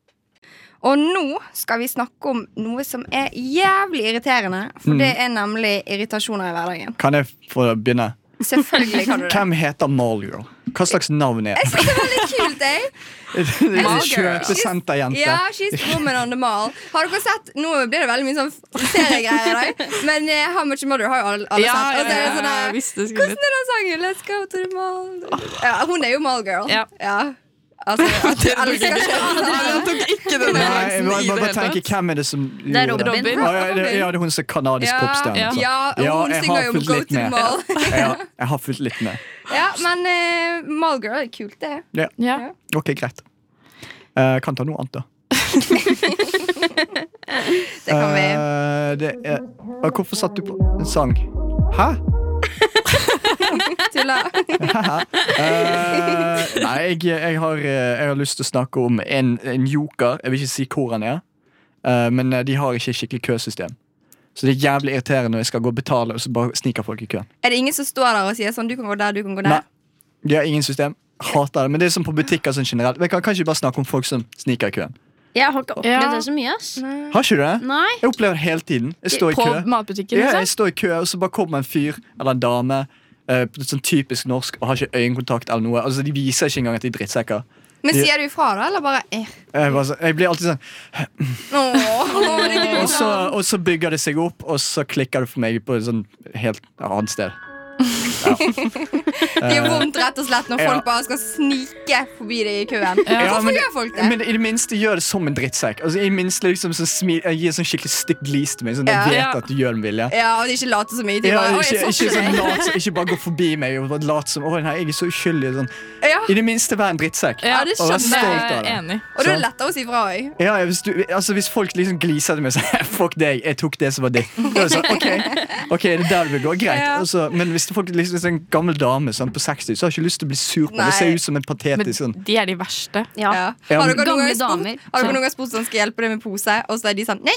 Og nå skal vi snakke om noe som er jævlig irriterende. For
Mm.
det er nemlig irritasjoner i hverdagen.
(laughs) Kan jeg få begynne?
Selvfølgelig kan du det.
Hvem heter Malgirl? Hva slags navn er det?
Det er veldig (laughs) kult, jeg.
(laughs) Det er en
Malgirl.
Kjøpesenterjente.
Ja, she's the woman on the mall. Har dere sett Nå blir det veldig mye sånn seriegreier i dag, men eh, How Much Mother har jo alle, alle
Ja,
sett. Og så
ja,
er det
ja,
sånn der,
jeg visste altså, det skulle
Hvordan er den sangen? Let's go to the mall.
Ah.
Ja, hun er jo mallgirl.
Ja.
Altså,
(laughs)
at du elsker
Jeg tok ikke den
Nei, jeg
referansen i
må, må
det
bare
hele tatt.
tenke, hvem er det som
Det er Robin.
Ja, ja, det, ja, det er hun som er kanadisk
Ja,
popstjerne.
ja.
altså.
Ja, og hun
jeg
synger
har
jo
fulgt
Go
litt
to the
med.
mall.
Ja, jeg har fulgt litt med.
Ja, men eh, mallgirl er kult, det.
Ja.
Ja.
Ok, greit. Eh, kan ta noe annet, da.
Det kan vi.
Eh, det er, Eh, hvorfor satt du på en sang? Hæ?
(laughs) Tulla.
(laughs) Eh, nei, jeg, jeg, har, eh, jeg har lyst til å snakke om en, en joker. Jeg vil ikke si hvor han er, eh, men eh, de har ikke skikkelig køsystem. Så det er jævlig irriterende når jeg skal gå og betale, og så bare sniker folk i køen.
Er det ingen som står der og sier sånn Du kan gå der, du kan gå
Nei,
der?
De har ingen system. Hater det. Men det er som på butikker sånn generelt. Vi kan kanskje bare snakke om folk som sniker i køen.
Jeg har ikke opplevd
Ja.
det så mye, ass.
Har ikke du det?
Nei.
Jeg opplever det hele tiden. Jeg står i
På
kø.
matbutikken,
Ja,
liksom?
jeg står i kø, og så bare kommer en fyr eller en dame. eh, sånn typisk norsk og har ikke øyekontakt eller noe. Altså, De viser ikke engang at de er drittsekker.
Men
Ja.
sier du ifra, da? Eller bare eh.
Jeg, bare, så- jeg blir alltid sånn
Åh, det er
og
grusomt.
så, og så bygger det seg opp, og så klikker det for meg på et sånn helt annet sted.
Det gjør vondt rett og slett når
Eh, Ja.
folk bare skal snike forbi deg i køen.
Ja,
Hvorfor
men-
gjør folk det?
Men i det minste gjør det som en drittsekk. Altså, i det minste liksom sånn smi- Jeg gir sånn skikkelig stygt glis til meg, sånn
Ja.
jeg
Ja.
vet at du gjør det med vilje.
Ja, og de ikke later som ingenting.
Ja,
bare, «Oi,
ikke,
jeg så
ikke,
ikke
sånn
deg».
lat, som- ikke bare gå forbi meg og bare late som Å nei, jeg er så uskyldig. Sånn.
Ja,
I det minste vær en drittsekk.
Ja,
Og vær stolt
jeg
av
er
det.
enig.
Og da er det lettere å si fra òg.
Ja, ja, hvis, du, altså, hvis folk liksom gliser til meg og sier 'fuck deg, jeg tok det som var ditt', da er det sånn, ok, ok, det er der du vil gå, greit.
Ja.
Og så- men hvis folk liksom hvis en gammel dame sånn, på 60 så har jeg ikke lyst til å bli sur på henne. Det ser
Nei.
ut som en
Men
patetisk sånn.
de er de verste.
Ja.
Ja.
Ja,
Har dere noen
men-
Gamle
gang
damer.
spurt- har dere noen gang spurt om skal jeg hjelpe deg med pose, og så er de sånn nei?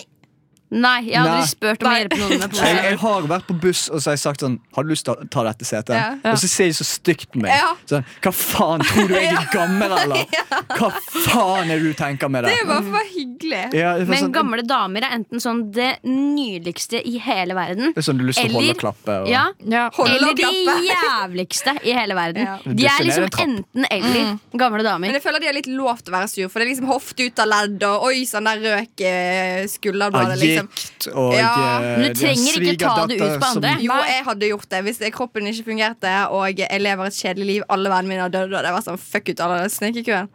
Nei, jeg har
Nei.
aldri spurt om å hjelpe
(laughs)
noen med
Jeg,
pose.
jeg har vært på buss og så har jeg sagt sånn Har du lyst til å ta dette setet?
Ja.
Og så ser de så stygt på meg.
Ja.
Sånn, Hva faen, tror du jeg er gammel,
(laughs)
eller? Hva faen er det du tenker med det?
Det er jo bare for å være hyggelig.
Ja, det er
Men
sånn,
gamle damer er enten sånn det nydeligste i hele verden,
det er sånn du har lyst til å holde
eller-
og klappe. Og,
ja,
Ja.
Holde
eller
og
de
klappe. (laughs)
jævligste i hele verden.
Ja. Mm.
De er liksom
Definerer trapp.
enten-eller, gamle
Men
damer.
jeg føler de har litt lov til å være sur, for det er liksom hofte ut av ledd, og oi, sånn der røk i
Av Ah,
skulderbladet, liksom.
gikt og
Ja.
eh,
Men
de har
du trenger ikke ta det ut
svigerdatter
på
som-
andre.
Jo, jeg hadde gjort det hvis jeg- kroppen ikke fungerte, og jeg lever et kjedelig liv, alle vennene mine har dødd, og det var sånn fuck ut alle snekekøen.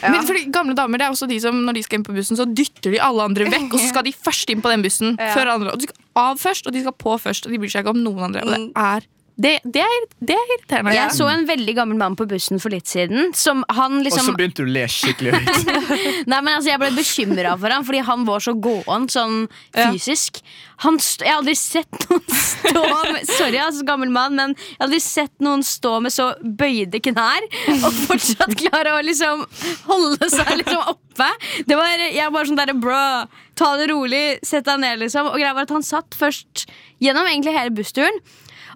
Ja.
Men fordi Gamle damer det er også de som når de skal inn på bussen, så dytter de alle andre vekk. Og så skal de først inn på den bussen.
Ja.
Før andre, og De skal av først, og de skal på først. Og de bryr seg ikke om noen andre. Og det
Mm.
er, det, det er, det er irriterende.
Jeg så en veldig gammel mann på bussen for litt siden. Som han
Og så
liksom
begynte du å le skikkelig høyt.
Nei, men altså, Jeg ble bekymra for han fordi han var så gåen sånn fysisk. Han st jeg har aldri sett noen stå med Sorry, altså, gammel mann, men jeg har aldri sett noen stå med så bøyde knær og fortsatt klare å liksom holde seg liksom oppe. Det var, Jeg var sånn derre bro, ta det rolig, sett deg ned, liksom. Og greia var at han satt først gjennom egentlig hele bussturen,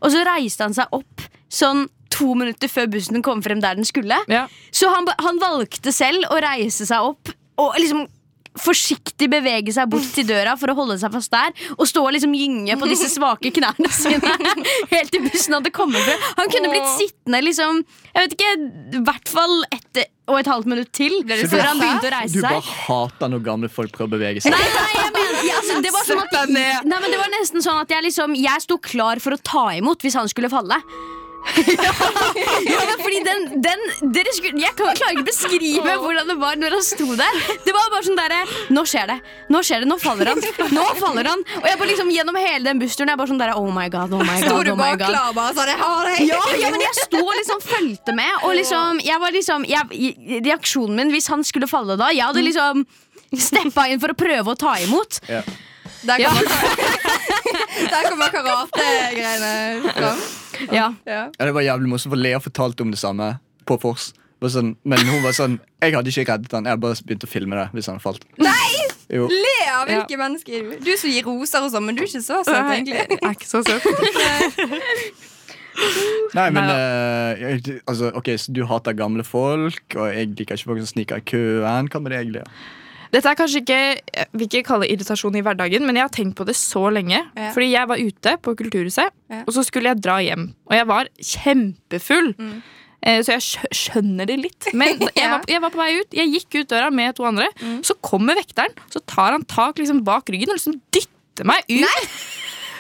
og så reiste han seg opp sånn to minutter før bussen kom frem der den skulle.
Ja.
Så han, ba- han valgte selv å reise seg opp og liksom forsiktig bevege seg bort til døra for å holde seg fast der. Og stå og liksom gynge på disse svake knærne sine helt til bussen hadde kommet frem. Han kunne blitt sittende liksom, jeg vet ikke, i hvert fall ett og et halvt minutt til
du
før han begynte å
Du
reise
bare
seg.
hater når gamle folk prøver å bevege seg.
Nei, nei, jeg mener, ja, altså, det, var sånn at, nei, men det var nesten sånn at jeg liksom Jeg sto klar for å ta imot hvis han skulle falle. ja, men fordi den, den dere skulle, Jeg kan- klarer ikke å beskrive hvordan det var når han sto der. Det var bare sånn derre Nå skjer det. Nå skjer det, nå faller han. Nå faller han Og jeg bare liksom gjennom hele den bussturen Jeg bare sånn derre Oh my god, oh my god.
Sto du
oh my
bak
god
klar bare sånn, jeg har deg?
ja, ja, men jeg sto og liksom fulgte med. Og liksom, jeg var liksom jeg, i- Reaksjonen min hvis han skulle falle da Jeg hadde liksom Steppa inn for å prøve å ta imot.
Ja.
Der
Ja.
kommer, (laughs) der kommer karate-greiene fram.
Ja.
Ja.
Ja, det var jævlig morsomt, for Lea fortalte om det samme på Fors. Var Sånn, men hun var sånn Jeg hadde ikke reddet han, jeg bare begynte å filme det hvis han falt.
Nei!
Jo.
Le av hvilke mennesker er du Du som gir roser og sånn, men du er ikke så søt,
Nei,
egentlig.
jeg er ikke så søt.
Nei, men
Neida.
eh, jeg, altså, ok, så du hater gamle folk, og jeg liker ikke folk som sniker i køen. Hva med deg, Lea?
Dette er kanskje ikke jeg vil ikke kalle det irritasjon i hverdagen, men jeg har tenkt på det så lenge.
Ja.
Fordi jeg var ute på Kulturhuset,
Ja.
og så skulle jeg dra hjem. Og jeg var kjempefull.
Mm.
Eh, Så jeg skjø- skjønner det litt.
(laughs)
Men jeg var, jeg var på vei ut. Jeg gikk ut døra med to andre.
Mm.
Så kommer vekteren, så tar han tak liksom bak ryggen og liksom dytter meg ut.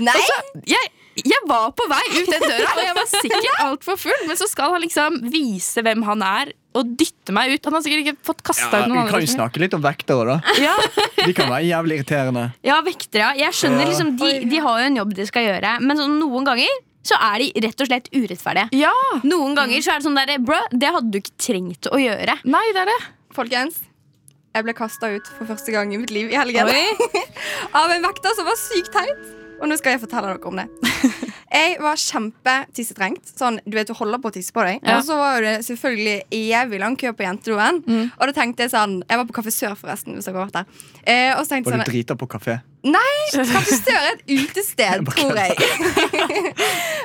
Nei!
Jeg, jeg var på vei ut den døra, og jeg var
(laughs)
sikkert altfor full. Men så skal han liksom vise hvem han er, og dytte meg ut. Han har sikkert ikke fått kasta ut
vi
noen andre.
kan jo snakke litt om vektere, da.
Ja,
De kan være jævlig irriterende.
Ja, vektere. ja. Jeg skjønner
Ja.
liksom, de, de har jo en jobb de skal gjøre, men sånn, noen ganger så er de rett og slett urettferdige.
ja.
Noen ganger så er det sånn der, bro, det hadde du ikke trengt å gjøre.
Nei, det er det.
Folkens, jeg ble kasta ut for første gang i mitt liv i helgen. (laughs) Av en vekter som var sykt teit. Og nå skal jeg fortelle dere om det. Jeg var kjempetissetrengt. Sånn, du vet, du holder på å tisse på deg.
Ja.
Og så var det selvfølgelig evig lang kø på jentedoen. Og da tenkte jeg sånn Jeg var på Kafé Sør, forresten. Hvis dere har vært der. Eh, og så tenkte
Var
jeg
du
sånn
drita på kafé?
Nei, Kafé Sør er
(laughs)
et utested, tror jeg. (laughs)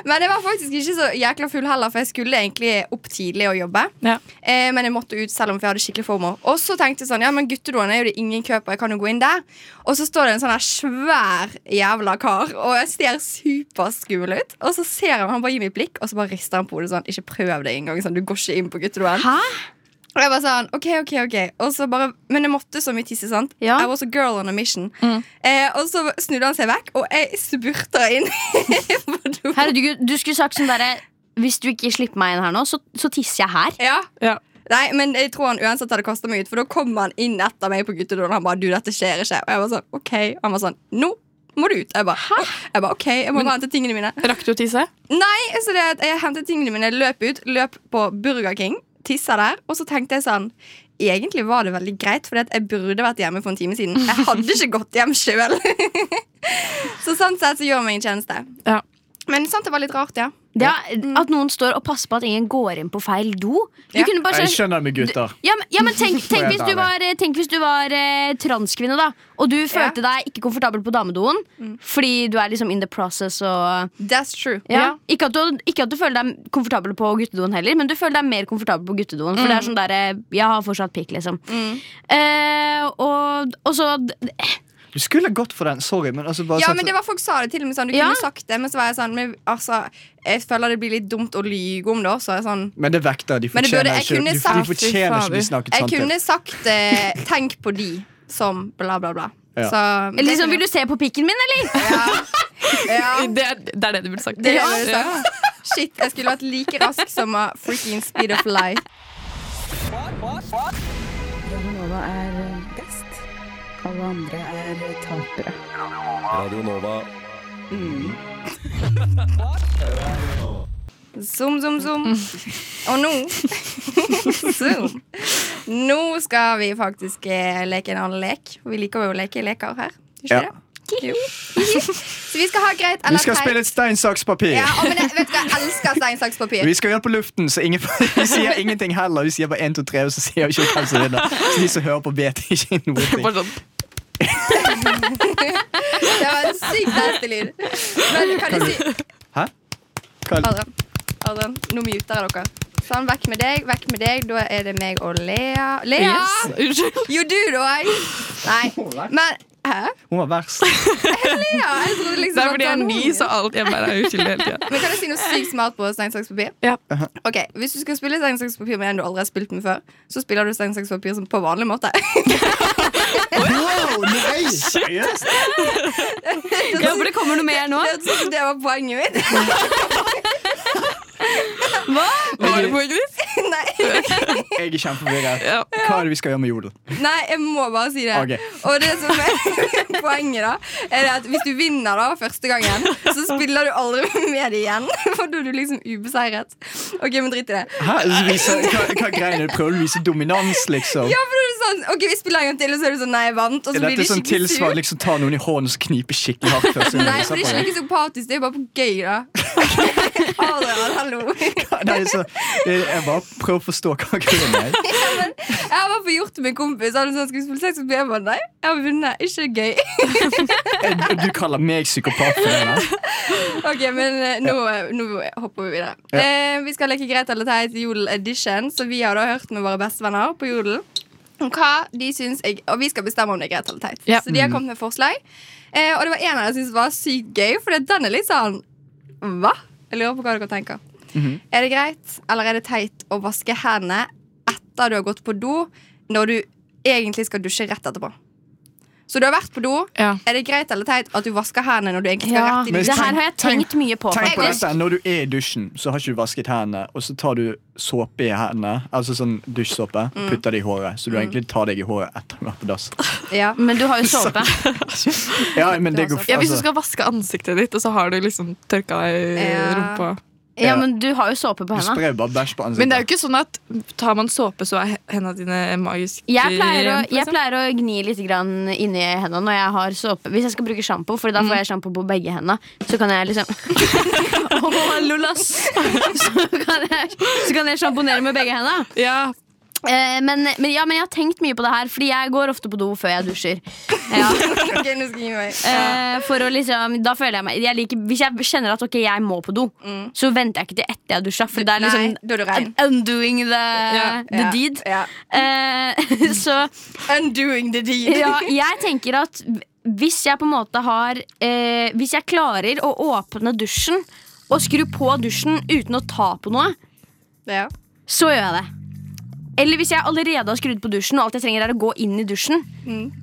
Men jeg var faktisk ikke så jækla full heller, for jeg skulle egentlig opp tidlig og jobbe.
Ja.
Eh, men jeg måtte ut selv om jeg hadde skikkelig fomo. Og så tenkte jeg sånn, ja, men guttedoen er jo det ingen kø på, jeg kan jo gå inn der. Og så står det en sånn her svær jævla kar, og jeg ser superskummel ut. Og så ser jeg han bare gir meg et blikk, og så bare rister han på hodet sånn, ikke prøv det engang, sånn, du går ikke inn på guttedoen.
Hæ?
Og jeg bare sånn, ok, ok, ok. Og så bare, men jeg måtte så mye tisse, sant?
Ja.
I was a girl on a mission.
Mm.
Eh, og så snudde han seg vekk, og jeg spurter inn (laughs) på do.
Herregud, du skulle sagt sånn derre Hvis du ikke slipper meg inn her nå, så, så tisser jeg her.
Ja.
Ja.
Nei, men jeg tror han uansett hadde kasta meg ut, for da kom han inn etter meg på guttedoen. Han bare 'du, dette skjer ikke'. Og jeg var sånn 'ok'. Han var sånn 'nå må du ut'. Jeg bare, «Å». jeg bare 'ok, jeg må bare hente tingene mine'.
Rakk du å tisse?
Nei, så det, at jeg hentet tingene mine, løp ut, løp på Burger King, tissa der, og så tenkte jeg sånn Egentlig var det veldig greit, for jeg burde vært hjemme for en time siden. Jeg hadde ikke gått hjem sjøl. (laughs) så sånn sett så gjør meg en tjeneste.
Ja.
Men sant det var litt rart, ja.
Det er, at noen står og passer på at ingen går inn på feil do. Du
Ja.
kunne bare
Jeg
sagt-
skjønner det med gutter.
ja, men,
(laughs)
ja, men tenk, tenk,
jeg
hvis
ta
du
det?
var, eh, tenk hvis du var eh, transkvinne, da. Og du følte deg ikke komfortabel på damedoen
Mm.
fordi du er liksom in the process og
That's true.
ja. Ikke, at du, ikke at du føler deg komfortabel på guttedoen heller, men du føler deg mer komfortabel på guttedoen. For det
Mm.
er sånn der, eh, Jeg har fortsatt pikk, liksom. Eh, og, og så
Du skulle gått for den. Sorry, men altså bare
Ja,
sagt-
men det var folk sa det til meg sånn. Du
Ja.
kunne sagt det, men så var jeg sånn men, altså, Jeg føler det blir litt dumt å lyge om det også. Jeg, er sånn,
Men det vekter. De
Men det burde-
fortjener
jeg
ikke
kunne
de,
sagt-
de fortjener ikke
Fy
å bli snakket
jeg
sant til.
kunne sagt eh, 'tenk på de' som bla, bla, bla.
Ja.
Så, det
liksom,
kunne-
Vil du se på pikken min,
(laughs)
eller?
ja,
Det, er, det er det du burde sagt.
det kunne jeg
Ja.
sagt. Shit, jeg skulle vært like rask som a freaking speed of light.
Radio Nova er eh, best. Alle andre er eh, tapere.
Radio Nova.
Zoom, zoom, zoom. Og nå (laughs) Zoom. Nå skal vi faktisk eh, leke en annen lek. Vi liker jo å leke leker her. Gjør
Ja.
ikke det? Jo. Så vi skal ha greit eller
Vi skal
teit.
spille et stein, saks, papir.
Ja, å, men jeg, vet du, hva, jeg elsker stein, saks, papir.
Vi skal gjøre det på luften, så
(laughs)
ingen, vi sier ingenting heller. Vi sier bare 1, 2, 3, og så sier vi ikke hvem som vinner. Så de som hører på, vet ikke noe.
Bare sånn.
Det var en sykt nasty lyd. Men kan du si
Hæ? Hva?
Adrian, Adrian nå muter jeg dere. Sånn, vekk med deg, vekk med deg. Da er det meg og Lea. Lea!
Yes. (laughs) Unnskyld.
Jo, du, da. jeg. Nei, men Hæ?
Hun var verst.
Lea? Jeg trodde liksom
Det er
at
fordi jeg er
var
ny,
hun.
så alt jeg bare er uskyldig hele tida.
Men Kan jeg si noe sykt smart på stein, saks, papir?
Ja.
Ok, Hvis du skal spille stein, saks, papir med en du aldri har spilt med før, så spiller du stein, saks, papir som på vanlig måte.
Wow, nei! Seriøst?
(laughs) Jeg håper det kommer noe mer nå.
Det hørtes ut som det var poenget
(laughs)
mitt.
Var det poenget ditt?
(laughs) Nei.
Jeg er kjempeforvirret.
Ja.
Hva er det vi skal gjøre med jodel?
Nei, jeg må bare si det.
Ok.
Og det som er (laughs) poenget, da, er det at hvis du vinner da første gangen, så spiller du aldri med det igjen. (laughs) For da er du liksom ubeseiret. Ok, men drit i det.
Hæ? Altså, vise- Hva, hva greien er det? Prøver du å vise dominans, liksom?
Ja, for da er det sånn OK, vi spiller en gang til, og så er du sånn Nei, jeg vant. Og så
Er
blir
dette
de
sånn
skikkelig
tilsvar
sur.
liksom ta noen i hånden og så knipe skikkelig hardt? først, så
Nei,
de
for det er ikke
ser på
noe sympatisk. Det er bare på gøy, da. Ha det, Harald, hallo.
deg. Nei, så, jeg, jeg bare prøver å forstå hva grunnen er.
Ja, men Jeg har bare fått gjort det med en kompis. Han er sånn, skal vi spille sex? Så blir jeg bare nei. Jeg har vunnet. Ikke gøy.
Eh, Du kaller meg psykopat for det? da?
Ok, men eh, nå, nå hopper vi videre.
Ja.
Eh, vi skal leke greit eller teit Jodel Edition, så vi har da hørt med våre bestevenner på Jodel. om Hva de syns jeg, Og vi skal bestemme om det er greit eller teit.
Ja.
Så de har
Mm.
kommet med forslag. Eh, og det var en av dem jeg syntes var sykt gøy, for den er litt sånn Hva? Jeg lurer på hva dere tenker.
Mhm.
Er det greit, eller er det teit å vaske hendene etter du har gått på do, når du egentlig skal dusje rett etterpå? Så du har vært på do. Er det greit eller teit at du vasker hendene når du egentlig skal
Ja,
rett i
Men
det her har jeg
tenk-
tenkt mye på.
Tenk på
faktisk.
dette, Når du er i dusjen, så har ikke du vasket hendene, og så tar du såpe i hendene, altså sånn dusjsåpe,
Mm.
og putter det i håret. Så du egentlig tar deg i håret etter du har vært på dass.
Ja.
Men du
(laughs)
har jo såpe.
Ja, men det går
Ja, hvis du
altså,
skal vaske ansiktet ditt, og så har du liksom tørka deg i rumpa.
Ja, men du har jo såpe på
Du
henda.
sprer bare bæsj på
Men det er
ansiktet.
jo ikke sånn at tar man såpe, så er hendene dine magisk
Jeg pleier, å,
rent,
jeg
liksom?
pleier å gni litt grann inni hendene når jeg har såpe. Hvis jeg skal bruke sjampo, for
Mm.
da får jeg sjampo på begge hendene. Så kan jeg
(laughs)
liksom Å, lollas! (laughs) Så kan jeg, så kan jeg sjamponere med begge hendene. Eh, men, men, ja, men jeg har tenkt mye på det her, Fordi jeg går ofte på do før jeg dusjer.
(laughs)
Ja.
Ok, nå skal jeg gi meg.
Eh, for å liksom, da føler jeg meg jeg liker, Hvis jeg kjenner at ok, jeg må på do, så venter jeg ikke til etter jeg har dusja. For det er liksom
Mm. Nei, da er du rein.
undoing the,
Ja,
the
ja,
deed.
ja.
Eh, (laughs) så
Undoing the deed. (laughs)
ja, jeg tenker at hvis jeg på en måte har eh, Hvis jeg klarer å åpne dusjen og skru på dusjen uten å ta på noe, så gjør jeg det. Eller hvis jeg allerede har skrudd på dusjen, og alt jeg trenger er å gå inn i dusjen.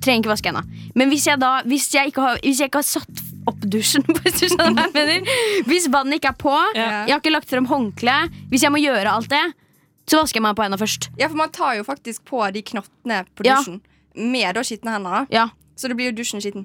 Trenger ikke vaske hendene. Men hvis jeg, da, hvis, jeg ikke har, hvis jeg ikke har satt opp dusjen (laughs) Hvis du skjønner hva jeg mener Hvis vannet ikke er på, jeg har ikke lagt frem håndkle Hvis jeg må gjøre alt det, så vasker jeg meg på hendene først.
Ja, for man tar jo faktisk på de knottene på
Ja.
dusjen med da skitne hender. da.
Ja.
Så det blir jo dusjen skitten.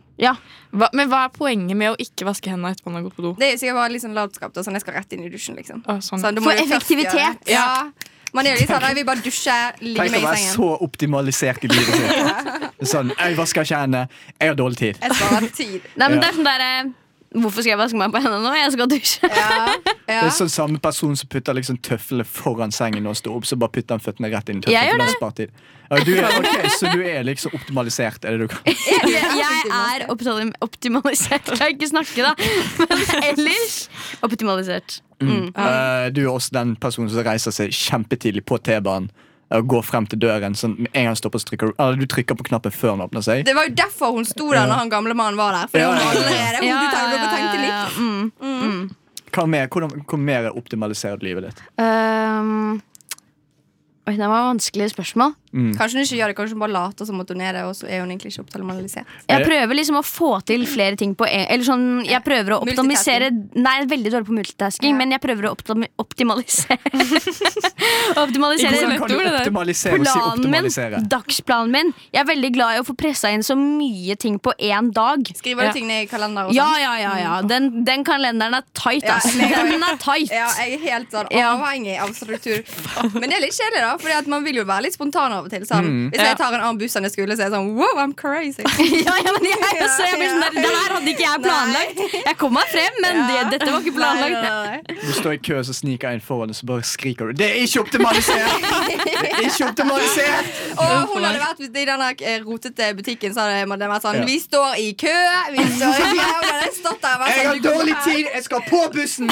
Hva, men hva er poenget med å ikke vaske hendene etterpå man har gått på do?
Det er sikkert bare litt sånn latskap. da, Sånn, jeg skal rett inn i dusjen, liksom.
Å, sånn.
Sånn, da må
For
jeg først
effektivitet.
gjøre det. Ja. Man er jo litt sånn nei, vi bare dusjer, ligger
Tenk å
med i
være
sengen.
så optimalisert i livet sitt. Sånn, jeg vasker ikke hendene, jeg har dårlig tid.
Jeg sparer
(laughs)
tid.
Nei, men
Ja.
det er sånn der, eh, Hvorfor skal jeg vaske meg på hendene nå? Jeg skal dusje.
Det er sånn samme person som putter liksom tøflene foran sengen når han står opp, så bare putter han føttene rett inn i
Jeg gjør
tøflene. for da
det.
sparer tid. Ja, du er, ok, så du er liksom optimalisert, er det du kan?
Jeg er optali- optimalisert. Jeg kan ikke snakke, da. Men ellers optimalisert.
Mm. Eh, du er også den personen som reiser seg kjempetidlig på T-banen og går frem til døren. Sånn, med en gang stopper, så trykker, du- eller du trykker på knappen før den åpner seg.
Det var jo derfor hun sto der
Ja.
når han gamle mannen var der. Fordi
Ja,
hun
ja, ja.
allerede, hun,
Ja,
du tar,
ja,
dere
ja,
tenkte
ja,
likt. Mm.
Hva mer, hvordan, hvor mer optimaliserer du livet ditt?
Um, oi, det var vanskelige spørsmål.
Mm.
Kanskje hun ikke gjør det, kanskje hun bare later som at hun er det, og så er hun egentlig ikke optimalisert.
Jeg prøver liksom å få til flere ting på en Eller sånn, jeg prøver å optimalisere Nei, jeg er veldig dårlig på multitasking, men jeg prøver å optimi- (laughs) optimalisere Optimalisere
Hvordan kan du optimalisere og si
planen
optimalisere?
min, dagsplanen min. Jeg er veldig glad i å få pressa inn så mye ting på én dag.
Skriver du ting ned i kalender og
Ja,
sånn?
ja, ja. ja. Den, den kalenderen er tight,
(laughs) Ja,
ass.
men jeg-
Den er tight. (laughs)
Ja, jeg er helt sånn
Ja.
avhengig av struktur. Men det er litt kjedelig, da. Fordi at man vil jo være litt spontan av og til. Sånn.
Mm.
Hvis
Ja.
jeg tar en annen buss enn jeg skulle, så er jeg sånn wow, I'm
(laughs)
crazy.
Ja, ja,
(laughs)
men jeg, er også- jeg blir sånn der, Det her hadde ikke jeg planlagt. Jeg kom meg frem, men det, dette var ikke planlagt.
Du står i kø, så sniker jeg inn foran og så bare skriker du 'Det er ikke optimalisert!' Det
(laughs)
er ikke optimalisert!
Og hun hadde vært hvis det i den der, eh, rotete butikken, så hadde man vært sånn
Ja.
Vi står i kø, vi står
(laughs)
i kø. Og da hadde jeg stått der og vært
Jeg
sånn,
har
«Du kommer
dårlig
her».
tid! Jeg skal på bussen!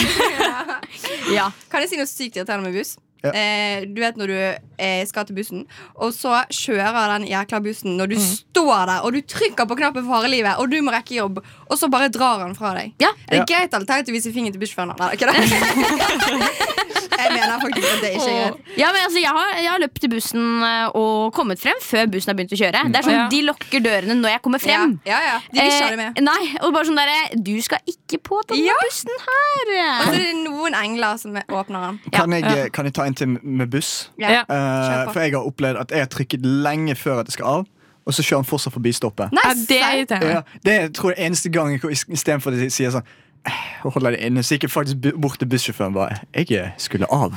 Ja.
Kan jeg si noe sykt irriterende med buss?
Ja.
Eh, du vet når du eh, skal til bussen, og så kjører den jækla bussen når du står der og du trykker på knappen for harde livet, og du må rekke jobb, og så bare drar han fra deg.
Ja.
Er det greit eller teit å vise fingeren til bussjåføren? Nei, ikke det. (laughs) jeg mener faktisk at det ikke er greit.
Ja, men altså, jeg, har, jeg har løpt til bussen eh, og kommet frem før bussen har begynt å kjøre. Det er sånn,
Ja.
De lukker dørene når jeg kommer frem.
Ja, ja, ja. De vil ikke ha det med.
Eh, nei, og bare sånn derre Du skal ikke på denne bussen her!
Og (laughs) så er
eh.
det noen engler som åpner den.
Kan jeg, eh, kan jeg ta en til med buss?
Ja.
Eh,
Kjør på.
for jeg har opplevd at jeg har trykket lenge før at det skal av, og så kjører han fortsatt forbi stoppet.
Ja, det er
Ja,
irriterende.
det er, tror jeg eneste gang jeg- istedenfor at de sier sånn «Eh, Holder det inne, så gikk jeg faktisk bu- bort til bussjåføren og bare Jeg skulle eh, av.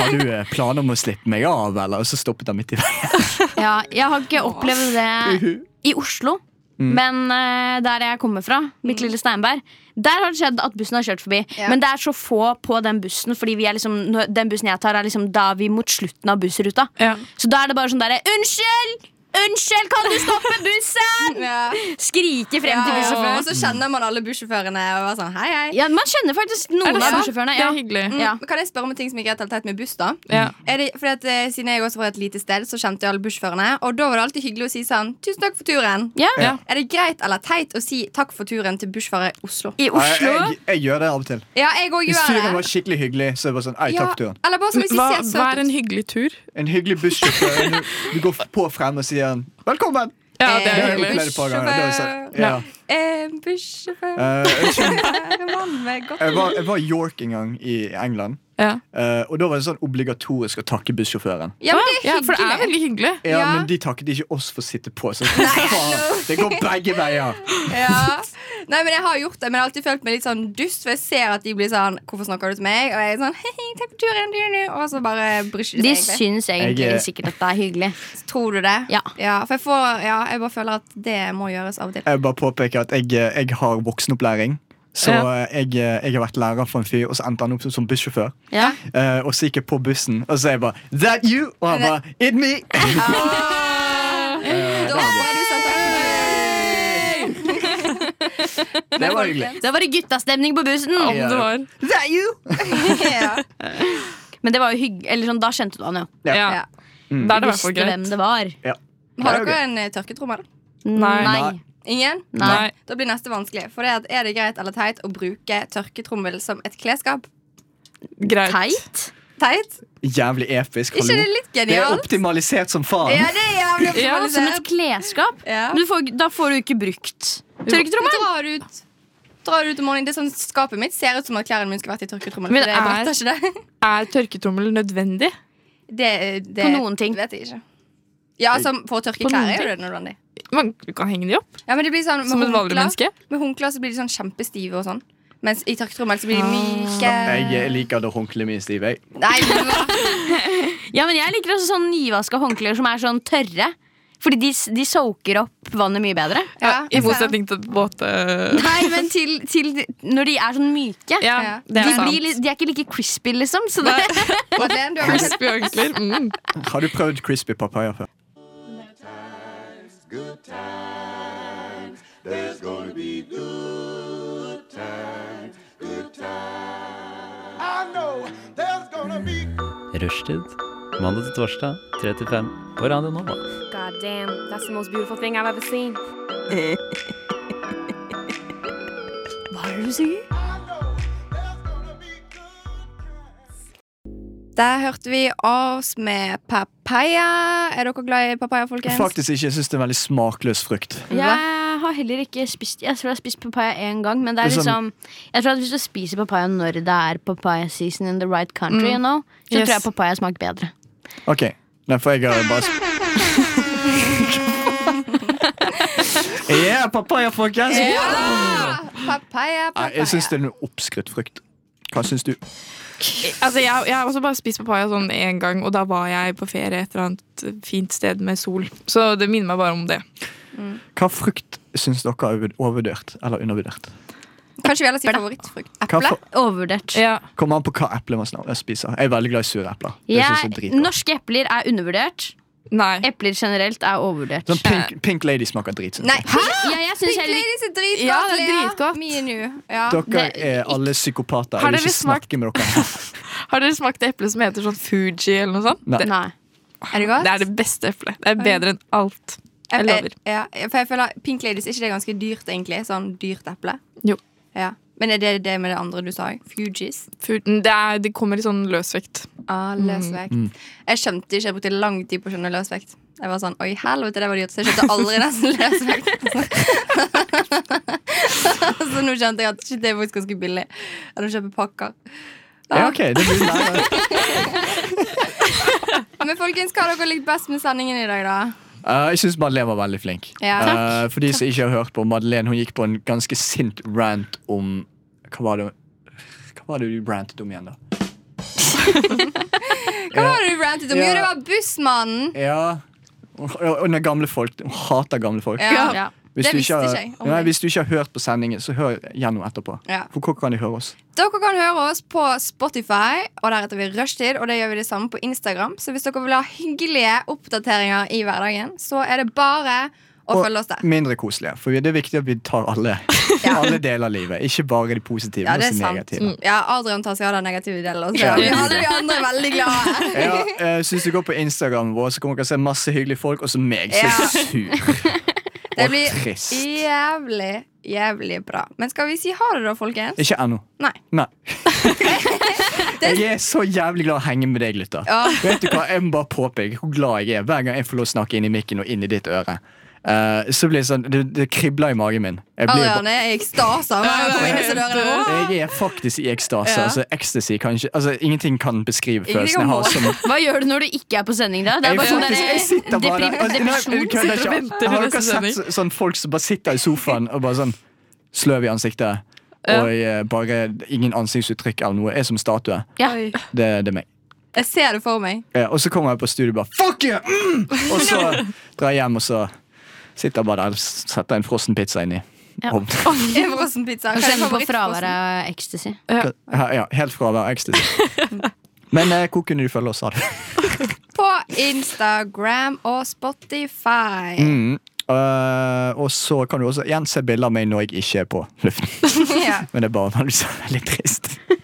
Har du eh, planer om å slippe meg av, eller? Og så stoppet han midt i veien.
Ja, jeg har ikke opplevd det i Oslo.
Mm.
Men eh, der jeg kommer fra, mitt lille Steinberg, der har det skjedd at bussen har kjørt forbi.
Ja.
Men det er så få på den bussen, Fordi vi er liksom, når- den bussen jeg tar, er liksom da vi mot slutten av bussruta.
Ja.
Så da er det bare sånn derre Unnskyld! Unnskyld, kan du stoppe bussen?!
(laughs) Ja.
Skrike frem til
Og
bussjåføren.
så kjenner man alle bussjåførene og er sånn hei, hei.
Ja, man kjenner faktisk noen av bussjåførene.
Det
Ja.
er hyggelig.
Mm,
Ja.
Kan jeg spørre om en ting som ikke er helt teit med buss, da?
Ja.
Er det, fordi at, eh, siden jeg også var i et lite sted, så kjente jeg alle bussjåførene. Og da var det alltid hyggelig å si sånn Tusen takk for turen.
Ja.
Ja.
Er det greit eller teit å si takk for turen til bussjåfører i Oslo?
I Oslo.
Jeg, jeg, jeg gjør det av og til.
Ja, jeg òg
Hvis fyren
gjør
var
det.
skikkelig hyggelig, så er det bare sånn Ei,
Ja,
takk, turen.
eller bare som hvis sånn, de
Hva,
ser
hva er
søte
en
ut.
hyggelig tur?
En hyggelig bussjåfør. en- Du går på frem og sier han, 'velkommen'.
Ja, det
Det
er
har jeg
hyggelig.
opplevd et par ganger. Det var sånn, ja.
Eh, Bussjåfør
Eh, unnskyld,
er en mann med godt
(laughs) jeg, var, jeg var i York en gang i England,
Ja.
eh, og da var det sånn obligatorisk å takke bussjåføren.
Ja, men det er
ja, for det er
hyggelig.
veldig hyggelig. (laughs)
Ja,
Ja.
Men de takket ikke oss for å sitte på. Så (laughs) faen, det går begge veier.
Ja. Nei, men Jeg har gjort det, men jeg har alltid følt meg litt sånn dust. For jeg ser at de blir sånn 'Hvorfor snakker du til meg?' Og jeg er sånn hei, takk for turen, du, du», Og så bare bryr ikke de
De
seg. egentlig.
syns egentlig
Jeg, eh,
sikkert at det er hyggelig.
Tror du det?
Ja.
for jeg, får, ja, jeg bare føler at det må gjøres av og til.
Jeg vil bare påpeker at jeg, eh, jeg har voksenopplæring. Så eh, jeg, jeg har vært lærer for en fyr, og så endte han opp som, som bussjåfør.
Ja.
Eh, og så gikk jeg på bussen, og så er jeg bare 'That you?' Og han bare 'It me'.
Da må du si takk for det.
(laughs) Det var hyggelig.
Da var det guttastemning på bussen!
Om det var.
That you?
ja.
Men det var jo hygg eller sånn, da skjønte du han jo.
Ja.
Ja.
Ja.
Da er det i hvert
Visste
fall
hvem
greit.
det var.
Har dere en eh, tørketrommel?
Nei.
Nei.
Ingen?
Nei.
Da blir neste vanskelig. For det er, at, er det greit eller teit å bruke tørketrommel som et klesskap?
Greit.
Teit?
Teit?
Jævlig episk.
Ikke
Hallo.
det er litt
Det er
genialt?
optimalisert som faen.
Ja, det er jævlig
Ja,
Som et
optimalisert.
klesskap?
Ja.
Men Du får, da får du ikke brukt
Du
tørketrommel.
drar ut Drar ut om morgenen. Det er sånn Skapet mitt ser ut som at klærne mine skulle vært i tørketrommel.
Men
for det
er-
bretter ikke det. (laughs)
Er tørketrommel nødvendig?
Det, eh, det
På noen ting.
vet jeg ikke. Ja, altså, For å tørke
På noen
klær er jo det nødvendig.
Man du kan henge de opp
Ja, men det blir sånn, med
som et vanlig
håndklær-
menneske.
Med håndklær så blir de sånn kjempestive og sånn. Mens i tørketrommel så blir
Ah.
de myke.
Jeg eh, liker det håndkleet mitt, Steve. Jeg.
Nei,
(laughs)
men hva?
Ja, men Jeg liker også sånn nyvaska håndklær som er sånn tørre. Fordi de, s- de soaker opp vannet mye bedre.
Ja, altså,
I motsetning til våte
Nei, men til, til de- Når de er sånn myke.
Ja, det
De,
er sant.
blir, litt- de er ikke like crispy, liksom. Så (laughs) det,
Madeleine, du har kanskje-
Crispy (laughs) håndklær. Mm.
Har du prøvd crispy papaya før?
Rushtid. Mandag til torsdag, 3 til 5 på Radio Nova.
God damn, that's the most beautiful thing I've ever seen.
Der hørte vi oss med papaya. Er dere glad i papaya, folkens?
Faktisk ikke. Jeg syns det er en veldig smakløs frukt.
jeg har heller ikke spist Jeg tror jeg har spist papaya én gang. Men det er
Det er
liksom
sånn-
Jeg tror at hvis du spiser papaya når det er papaya season in the right country, you know, så
Yes.
tror jeg papaya smaker bedre.
Ok, Nei, for jeg har bare Yeah, papaya, folkens!
Ja! Ah, Papaya,
Nei,
papaya.
jeg syns det er en oppskrytt frukt. Hva syns du?
Altså, jeg, jeg har også bare spist papaya sånn én gang, og da var jeg på ferie et eller annet fint sted med sol. Så det minner meg bare om det.
Hva frukt syns dere er over- overvurdert eller undervurdert?
Kanskje vi heller sier favorittfrukt.
Hva
Eple?
for-
Overvurdert.
Ja.
Kommer an på hva eple man snak- spiser. Jeg er veldig glad i sure epler. Det synes jeg er
Jeg-
dritgodt.
norske epler er undervurdert.
Nei.
Epler generelt er overvurdert.
Sånn pink, pink Lady smaker drit. syns
Nei.
jeg.
Ja, jeg synes
Pink
heller ikke-
Ladies er dritgodt,
Ja, det er
Lea.
dritgodt.
Me and you. Ja.
Dere
det-
er alle psykopater.
Har
Jeg vil
dere
ikke snakke med dere.
Har dere smakt det eplet som heter sånn Fuji eller noe sånt?
Nei.
Det,
Nei.
Er det godt?
det er det beste eplet. Det er bedre enn alt.
Eh,
Jeg
eh,
lover.
Ja, for jeg føler Pink Ladies, er ikke det ganske dyrt, egentlig? Sånn dyrt eple?
Jo.
Ja. Men er det det med det andre du sa? Fugees?
Fu- Mm, Det, er, det kommer i sånn løsvekt.
Ah, løsvekt. Jeg skjønte ikke, jeg brukte lang tid på å skjønne løsvekt. Jeg var sånn, oi helvete, det var dyrt, så jeg skjønte aldri nesten løsvekt. (laughs) så nå skjønte jeg at shit, det er faktisk ganske billig. Enn å kjøpe pakker.
Ja, ok, det blir lærer.
Men folkens, hva har dere likt best med sendingen i dag, da?
Eh, jeg syns Madeleine var veldig flink.
Ja.
Eh, for de som ikke har hørt på Madeleine, hun gikk på en ganske sint rant om Hva var det, hva var det du rantet om igjen, da?
Hva var det du rantet om? Jo, det var bussmannen.
Ja. Og, og og når gamle folk hun hater gamle folk.
Ja. Ja.
Hvis,
Det
du
visste
ikke har,
ikke jeg om
nei,
deg.
hvis du ikke har hørt på sendingen, så hør gjennom etterpå.
Ja.
For hvor kan de høre oss?
Dere kan høre oss på Spotify, og der heter vi Rushtid. Og det gjør vi det samme på Instagram. Så hvis dere vil ha hyggelige oppdateringer i hverdagen, så er det bare å følge oss der.
mindre koselige. For det er viktig at vi tar
(laughs)
alle, alle deler av livet. Ikke bare de positive.
Ja, det er
men også
sant. Mm.
negative.
Ja, Adrian tar seg av den negative delen. Så
Ja.
vi alle de andre er veldig glade.
(laughs) Ja, eh, så hvis du går på Instagram vår, så kommer dere å se masse hyggelige folk, og så meg, så
Ja.
(laughs) sur.
Det
Og
blir
trist.
jævlig, jævlig bra. Men skal vi si ha det, da, folkens?
Ikke ennå.
Nei. (laughs)
Nei. Jeg er så jævlig glad i å henge med deg, gutter.
Ja.
Vet du hva, Jeg må bare påpeke hvor glad jeg er hver gang jeg får lov å snakke inn i mikken og inn i ditt øre. Eh, så blir Det sånn, det, det kribler i magen min. Jeg, blir
Adrian er i ekstase. Han er på disse dørene. Åh!
bare, jeg er faktisk i ekstase.
Ja.
Altså, ecstasy kan ikke, altså, ingenting kan beskrive
Ingenting
følelsen jeg har. Som,
Hva gjør du når du ikke er på sending, da? Det er
jeg,
bare sånn
faktisk, jeg sitter
der,
bare
deprim-
altså, nei,
depresjon.
jeg kødder
Sitter og
ikke.
venter til
Har
neste
dere sett
sending.
så- sånn folk som bare sitter i sofaen og bare sånn sløv i ansiktet? Og eh, bare ingen ansiktsuttrykk eller noe. Jeg er som statue.
Ja.
Det, det er meg.
Jeg ser det for meg.
Eh, og så kommer jeg på studio og bare Fuck you! Mm! Og så
(laughs)
drar jeg hjem, og så sitter jeg bare der og s- setter en frossen pizza inni.
Ja.
ovnen.
En frossen pizza. Hva
Og
er
kjenner på
favorittfrossen?
fraværet av ecstasy.
Ja, ja, helt fra å være ecstasy.
(laughs)
Men eh, hvor kunne du følge oss, sa du?
På Instagram og Spotify.
Mm. Eh, og så kan du også igjen se bilder av meg når jeg ikke er på luften.
(laughs) Ja.
(laughs) Men det er bare vanligvis veldig trist.